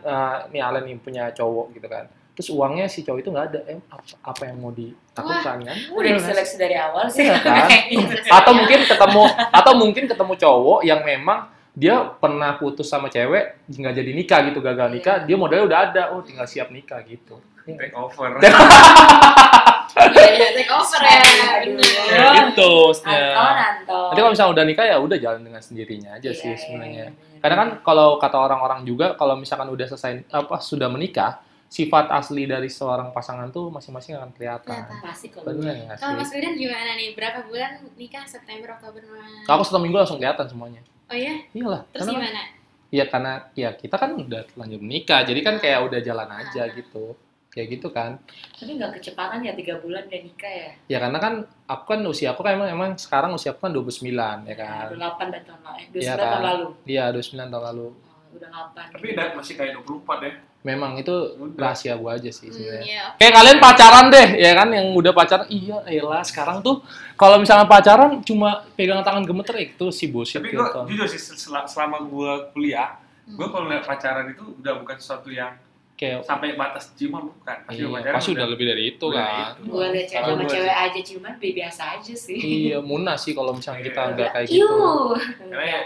Speaker 1: nih Alan nih punya cowok gitu kan terus uangnya si cowok itu nggak ada em apa, apa yang mau ditakutkan kan
Speaker 3: udah
Speaker 1: Iya nggak sih?
Speaker 3: diseleksi dari awal sih <laughs>
Speaker 1: Iya, kan?
Speaker 3: Kayak gitu.
Speaker 1: atau mungkin ketemu atau mungkin ketemu cowok yang memang dia pernah putus sama cewek nggak jadi nikah gitu gagal nikah dia modalnya udah ada oh tinggal siap nikah gitu Iya nggak sih?
Speaker 4: Take over.
Speaker 2: Iya, take over ya.
Speaker 3: Aduh.
Speaker 2: Bener.
Speaker 1: Ya, gitu
Speaker 3: Nonton,
Speaker 1: maksudnya.
Speaker 3: nonton.
Speaker 1: nanti kalau misalnya udah nikah ya udah jalan dengan sendirinya aja
Speaker 3: Iya,
Speaker 1: sih
Speaker 3: iya,
Speaker 1: sebenarnya
Speaker 3: iya.
Speaker 1: Karena kan kalau kata orang-orang juga kalau misalkan udah selesai apa sudah menikah, sifat asli dari seorang pasangan tuh masing-masing akan kelihatan.
Speaker 2: Kelihatan.
Speaker 3: pasti kalau
Speaker 1: Benar nggak
Speaker 2: Kalau Mas
Speaker 1: sih?
Speaker 2: Wildan gimana nih? Berapa bulan nikah? September, Oktober, November?
Speaker 1: Aku satu minggu langsung kelihatan semuanya.
Speaker 2: Oh iya?
Speaker 1: Iyalah,
Speaker 2: Terus
Speaker 1: karena
Speaker 2: gimana?
Speaker 1: ya karena ya kita kan udah lanjut menikah, jadi kan kayak udah jalan
Speaker 4: Ah.
Speaker 1: aja gitu. Kayak gitu kan.
Speaker 3: tapi nggak kecepatan ya tiga bulan udah nikah ya
Speaker 1: Ya karena kan aku kan usia aku kan emang, emang sekarang usia aku kan 29 ya kan.
Speaker 3: delapan dan tahun lalu eh, dua
Speaker 1: Iya,
Speaker 3: tahun
Speaker 1: kan?
Speaker 3: lalu
Speaker 1: Iya, 29 tahun lalu.
Speaker 3: Oh, udah delapan
Speaker 4: Tapi udah masih kayak 24 ya.
Speaker 1: Memang itu
Speaker 4: Udah.
Speaker 1: rahasia gua aja sih
Speaker 2: Hmm,
Speaker 1: sebenarnya.
Speaker 2: iya.
Speaker 1: Kayak kalian pacaran deh, ya kan? Yang udah pacaran, iya elah sekarang tuh kalau misalnya pacaran cuma pegang tangan gemeter itu si bullshit
Speaker 4: Tapi
Speaker 1: gitu.
Speaker 4: gua jujur sih sel- selama gua kuliah,
Speaker 3: Hmm.
Speaker 4: gua kalau lihat pacaran itu udah bukan sesuatu yang
Speaker 1: Kayak
Speaker 4: sampai batas ciuman bukan. Pas
Speaker 1: iya,
Speaker 4: udah pacaran
Speaker 1: pasti udah lebih dari itu
Speaker 4: udah
Speaker 1: kan.
Speaker 4: itu.
Speaker 3: gue liat cewek
Speaker 1: Kalau
Speaker 3: sama
Speaker 1: gua
Speaker 3: cewek aja cuman biasa aja sih
Speaker 1: Iya, munas sih kalau misalnya kita
Speaker 4: Iya.
Speaker 1: nggak kayak
Speaker 3: Iu.
Speaker 1: gitu.
Speaker 3: <laughs>
Speaker 4: Karena ya,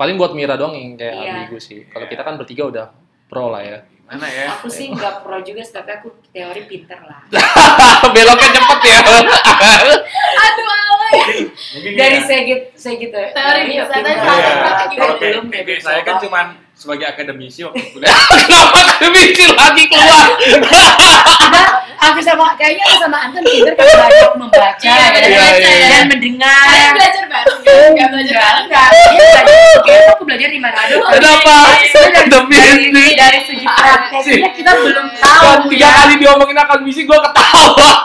Speaker 1: Paling buat Mira doang yang kayak
Speaker 3: Iya.
Speaker 1: ambigu sih. Kalau kita kan bertiga udah pro lah ya.
Speaker 4: gimana ya?
Speaker 3: aku sih nggak pro juga tapi aku teori pinter lah
Speaker 1: <laughs> Beloknya cepet ya.
Speaker 2: Aduh, awal.
Speaker 4: Mungkin- mungkin
Speaker 3: dari
Speaker 4: ya.
Speaker 3: saya gitu saya gitu
Speaker 2: Teori
Speaker 3: Iya,
Speaker 2: bisa, tapi
Speaker 3: pinter.
Speaker 2: praktek-
Speaker 4: Iya.
Speaker 2: praktek
Speaker 3: Tapi
Speaker 4: Kalau kayak
Speaker 3: belum gitu. deh,
Speaker 4: kayak
Speaker 3: belum
Speaker 4: saya kan
Speaker 3: coba.
Speaker 4: cuman sebagai akademisi waktu kan.
Speaker 3: <laughs>
Speaker 4: kuliah.
Speaker 1: <laughs> Kenapa kemisi lagi keluar?
Speaker 3: Nah, aku sama kayaknya aku sama Anton pinter kan banyak membaca
Speaker 2: Iya,
Speaker 3: dan,
Speaker 1: iya, iya.
Speaker 3: dan mendengar
Speaker 2: Kalian belajar bareng kan? Nggak belajar
Speaker 3: Enggak,
Speaker 2: bareng.
Speaker 3: enggak. Dia belajar- Kayaknya aku belajar di mana
Speaker 2: Oh,
Speaker 3: aja.
Speaker 2: iya,
Speaker 1: Kenapa? kan Demi ini.
Speaker 3: Dari, dari segi prakteknya kita belum tahu
Speaker 1: Kan tiga
Speaker 3: ya.
Speaker 1: kali diomongin akan misi gue
Speaker 2: <laughs>
Speaker 1: ketawa.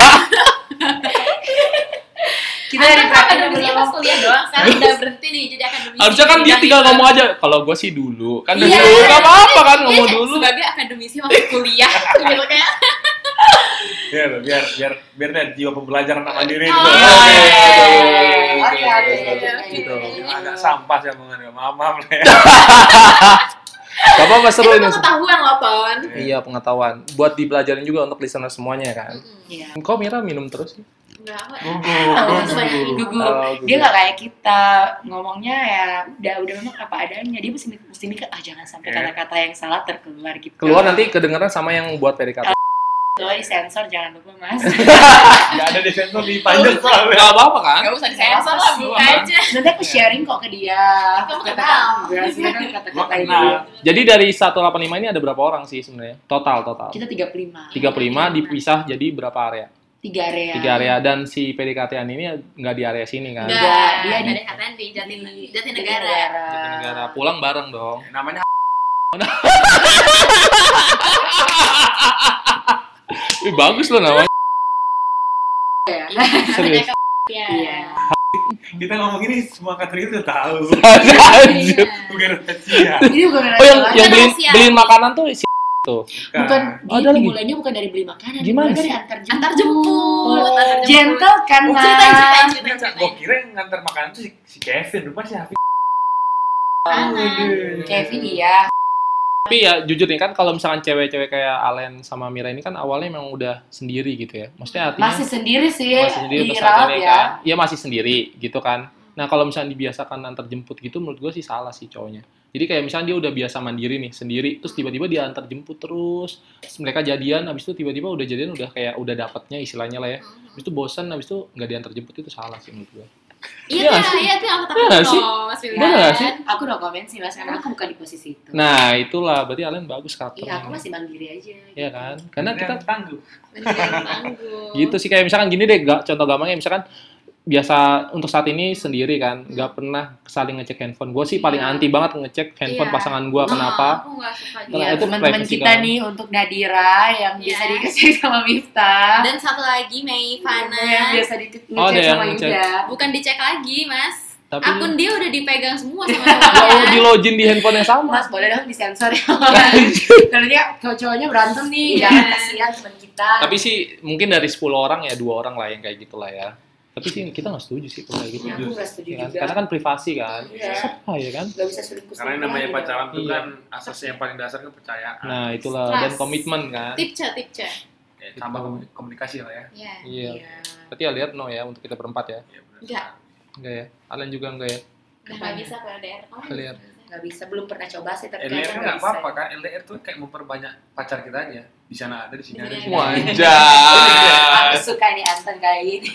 Speaker 3: Kita dari
Speaker 2: Kan
Speaker 3: prakteknya
Speaker 2: akademisnya
Speaker 3: belum
Speaker 2: pas kuliah doang, sekarang udah berhenti nih jadi akademisi.
Speaker 1: Harusnya kan dia
Speaker 2: Bidang
Speaker 1: tinggal
Speaker 2: itu.
Speaker 1: ngomong aja. Kalau gue sih dulu, kan
Speaker 2: Iya.
Speaker 1: dulu nggak apa-apa kan ngomong
Speaker 2: Iya,
Speaker 1: dulu.
Speaker 2: Sebagai akademisi masuk
Speaker 1: <laughs>
Speaker 2: kuliah gitu kayak.
Speaker 4: Iya, loh, biar biar biar ada jiwa pembelajaran sama diri
Speaker 2: Oh,
Speaker 4: itu. Iya,
Speaker 2: iya,
Speaker 4: iya, iya, iya, iya,
Speaker 3: Oke,
Speaker 4: iya,
Speaker 3: oke,
Speaker 4: iya,
Speaker 3: oke,
Speaker 4: iya.
Speaker 3: oke.
Speaker 4: Gitu.
Speaker 2: Iya.
Speaker 4: Agak sampah sih omongan ya. Maaf, maaf
Speaker 3: <laughs>
Speaker 4: lah ya.
Speaker 1: Gak apa-apa seru
Speaker 2: Itu kan
Speaker 1: ini.
Speaker 2: pengetahuan loh, Pon.
Speaker 1: Iya pengetahuan. Buat dipelajarin juga untuk listener semuanya kan.
Speaker 3: Iya.
Speaker 1: Kok Mira minum terus? sih?
Speaker 2: Enggak, aku
Speaker 3: Oh,
Speaker 2: itu banyak minum.
Speaker 3: Gugu.
Speaker 1: Oh, gugu.
Speaker 3: Dia nggak kayak kita ngomongnya ya udah udah memang apa adanya. Dia mesti mesti mikir ah jangan sampai
Speaker 4: Iya.
Speaker 3: kata-kata yang salah terkeluar gitu.
Speaker 1: Keluar
Speaker 2: Iya.
Speaker 1: nanti kedengeran sama yang buat PDKT.
Speaker 3: Keluar di sensor jangan lupa mas. <laughs>
Speaker 4: Gak ada di sensor di panjang soalnya.
Speaker 1: Gak apa-apa kan?
Speaker 2: Enggak usah disensor lah, buka aja.
Speaker 3: Nanti aku sharing kok ke dia.
Speaker 2: Kamu
Speaker 3: Kata-kata- Enggak sih, kan
Speaker 4: Gua
Speaker 3: kata-kata
Speaker 4: kenal.
Speaker 3: dia.
Speaker 1: Jadi dari 185 ini ada berapa orang sih sebenarnya? Total total.
Speaker 3: Kita 35.
Speaker 1: 35 dipisah jadi berapa area?
Speaker 3: 35 tiga area
Speaker 1: tiga area dan si PDKT-an ini nggak di area sini kan
Speaker 3: Ya. Nggak.
Speaker 2: Enggak,
Speaker 3: dia
Speaker 2: dia
Speaker 3: di-
Speaker 2: di katanya di Jatin
Speaker 3: Iya.
Speaker 2: Jatinegara.
Speaker 1: negara pulang bareng dong <laughs>
Speaker 4: namanya <laughs>
Speaker 1: Ih, bagus loh namanya
Speaker 2: Namanya
Speaker 3: <laughs>
Speaker 1: Serius.
Speaker 2: ke- Ya.
Speaker 3: Iya.
Speaker 4: kita ngomong ini semua kategori itu udah tahu
Speaker 3: <laughs>
Speaker 1: <laughs> Anjir.
Speaker 2: Iya.
Speaker 4: bukan rahasia
Speaker 3: Ini bukan
Speaker 1: oh yang
Speaker 3: rahasia.
Speaker 1: yang beliin,
Speaker 2: Rahasia.
Speaker 1: beliin makanan tuh si <laughs> tuh
Speaker 3: bukan
Speaker 1: Oh, ada
Speaker 3: di,
Speaker 1: lagi?
Speaker 3: dimulainya bukan dari beli makanan,
Speaker 1: Gimana
Speaker 3: dimulai dari
Speaker 1: sih?
Speaker 3: antar jemput.
Speaker 2: Antar jemput.
Speaker 3: Oh,
Speaker 2: antar jemput.
Speaker 3: Gentle kan,
Speaker 2: Oh,
Speaker 3: Mas.
Speaker 2: ceritain, ceritain, ceritain,
Speaker 4: gue
Speaker 2: ceritain.
Speaker 4: kira yang ngantar makanan tuh si, si Kevin rumah si Hafiz
Speaker 2: Kanan.
Speaker 3: Kevin iya.
Speaker 1: tapi ya jujur nih kan kalau misalkan cewek-cewek kayak Alen sama Mira ini kan awalnya memang udah sendiri gitu ya maksudnya artinya
Speaker 3: Masih sendiri sih,
Speaker 1: masih sendiri
Speaker 3: di
Speaker 1: terus
Speaker 3: Raab
Speaker 1: akhirnya
Speaker 3: Iya, ya.
Speaker 1: kan iya masih sendiri gitu kan nah kalau misalnya dibiasakan antar jemput gitu menurut gue sih salah sih cowoknya jadi kayak misalnya dia udah biasa mandiri nih sendiri terus tiba-tiba dia antar jemput terus Terus mereka jadian habis itu tiba-tiba udah jadian udah kayak udah dapatnya istilahnya lah ya
Speaker 2: Mhm.
Speaker 1: habis itu bosan habis itu nggak diantar jemput itu salah sih menurut gue Iya,
Speaker 2: Iya, iya,
Speaker 1: sih.
Speaker 2: iya, itu yang aku
Speaker 1: Iya
Speaker 2: takut
Speaker 1: nggak sih?
Speaker 2: loh, Mas Wildan.
Speaker 1: Bener nggak sih?
Speaker 3: Aku no comment sih mas, karena aku bukan di posisi itu.
Speaker 1: nah itulah berarti Alen bagus karakternya
Speaker 3: Iya, aku masih mandiri aja. gitu.
Speaker 1: Iya kan karena kita
Speaker 4: Yang tangguh
Speaker 2: Bener, tangguh.
Speaker 1: gitu sih kayak misalkan gini deh ga- contoh gampangnya misalkan biasa untuk saat ini sendiri kan nggak pernah saling ngecek handphone gue sih paling
Speaker 2: Hmm. Iya.
Speaker 1: anti banget ngecek handphone
Speaker 2: Iya.
Speaker 1: pasangan gue
Speaker 2: Ah,
Speaker 1: kenapa
Speaker 2: Aku nggak suka gitu.
Speaker 1: Karena
Speaker 3: Iya,
Speaker 1: itu
Speaker 3: teman-teman
Speaker 1: privacy kan.
Speaker 3: kita
Speaker 1: kamu.
Speaker 3: nih untuk Nadira yang
Speaker 2: Iya.
Speaker 3: biasa dikasih <laughs> sama Miftah.
Speaker 2: Dan satu lagi
Speaker 3: Iya,
Speaker 2: Mei
Speaker 3: Yang
Speaker 2: Fana.
Speaker 3: biasa dikit
Speaker 1: Oh, ada
Speaker 3: ngecek
Speaker 1: yang
Speaker 3: sama
Speaker 1: ngecek.
Speaker 3: Yuda.
Speaker 2: Bukan dicek lagi, Mas.
Speaker 1: tapi
Speaker 2: Oh, Akun ya. dia udah dipegang semua
Speaker 1: <laughs>
Speaker 2: sama
Speaker 1: Kalau
Speaker 2: cowoknya.
Speaker 1: di login di handphone yang sama
Speaker 2: <laughs>
Speaker 3: Mas boleh dong disensor
Speaker 1: <laughs>
Speaker 3: ya.
Speaker 1: Iya.
Speaker 3: Kalau dia cowok-cowoknya berantem nih, jangan kasihan teman kita.
Speaker 1: tapi sih mungkin dari 10 orang ya dua orang lah yang kayak gitulah ya tapi sih kita nggak setuju sih kalau kayak gitu
Speaker 2: Iya,
Speaker 3: Ya, aku nggak setuju
Speaker 1: Ya kan?
Speaker 3: juga.
Speaker 1: karena kan privasi kan
Speaker 3: Iya.
Speaker 1: Siapa ya kan
Speaker 3: Gak bisa selingkuh.
Speaker 4: karena yang namanya
Speaker 3: selingkuh lagi
Speaker 4: pacaran tuh
Speaker 1: Iya.
Speaker 4: kan asasnya yang paling dasar kan percayaan
Speaker 1: nah itulah
Speaker 2: Trust.
Speaker 1: dan komitmen kan
Speaker 2: Tipca, tipca.
Speaker 4: ya, tambah komu- komunikasi lah ya
Speaker 2: Iya.
Speaker 3: dong.
Speaker 1: iya
Speaker 3: Iya.
Speaker 1: berarti Aliat no ya untuk kita berempat ya
Speaker 4: Iya, benar.
Speaker 2: Enggak.
Speaker 1: enggak ya Alen juga enggak ya
Speaker 2: Udah nggak bisa kalau LDR. Kamu nggak
Speaker 1: LDR.
Speaker 2: bisa.
Speaker 3: Gak bisa, belum pernah coba sih,
Speaker 4: LDR
Speaker 3: tapi kayaknya
Speaker 4: kan
Speaker 3: gak
Speaker 4: nggak
Speaker 3: bisa.
Speaker 4: apa-apa kan LDR tuh kayak memperbanyak pacar kita aja di sana ada di sini ada di sini
Speaker 2: Iya.
Speaker 4: ada.
Speaker 2: <laughs>
Speaker 1: wajah
Speaker 3: Aku suka nih Anton kali ini.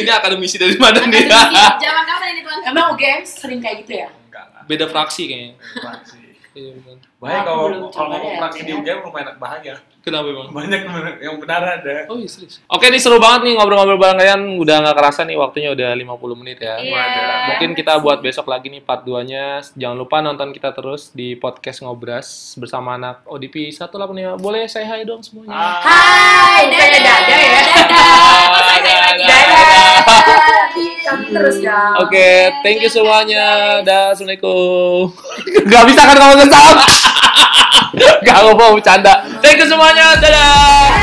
Speaker 1: ini akademisi dari mana nih
Speaker 2: Akademisi,
Speaker 1: <laughs>
Speaker 2: Zaman kapan ini tuan?
Speaker 3: <laughs> Emang UGM sering kayak gitu ya?
Speaker 4: enggak lah
Speaker 1: beda fraksi kayaknya
Speaker 4: Praksi.
Speaker 3: <laughs>
Speaker 1: Iya, bener.
Speaker 4: bahaya
Speaker 3: Aku
Speaker 4: kalau
Speaker 3: belum
Speaker 4: kalau
Speaker 3: coba
Speaker 4: ngomong
Speaker 3: deh,
Speaker 4: praksi di
Speaker 3: LDR.
Speaker 4: UGM lumayan bahaya
Speaker 1: kenapa emang
Speaker 4: <laughs> banyak bener- yang benar ada
Speaker 1: Oh, iya, serius. Oke, ini seru banget nih ngobrol-ngobrol bareng kalian. Udah nggak kerasa nih waktunya udah 50 menit ya.
Speaker 2: Iya.
Speaker 1: Mungkin kita buat besok lagi nih part 2-nya. Jangan lupa nonton kita terus di podcast Ngobras bersama anak ODP 185. Boleh saya hai dong semuanya.
Speaker 4: Ah.
Speaker 3: Hai, bukannya dada ya? Dadah. Kamu terus dong.
Speaker 1: Oke, thank you semuanya. Dah, Assalamualaikum. <laughs> Gak <laughs> bisa kan kalau nggak tahu. Gak mau bercanda. Thank you semuanya. Dadah.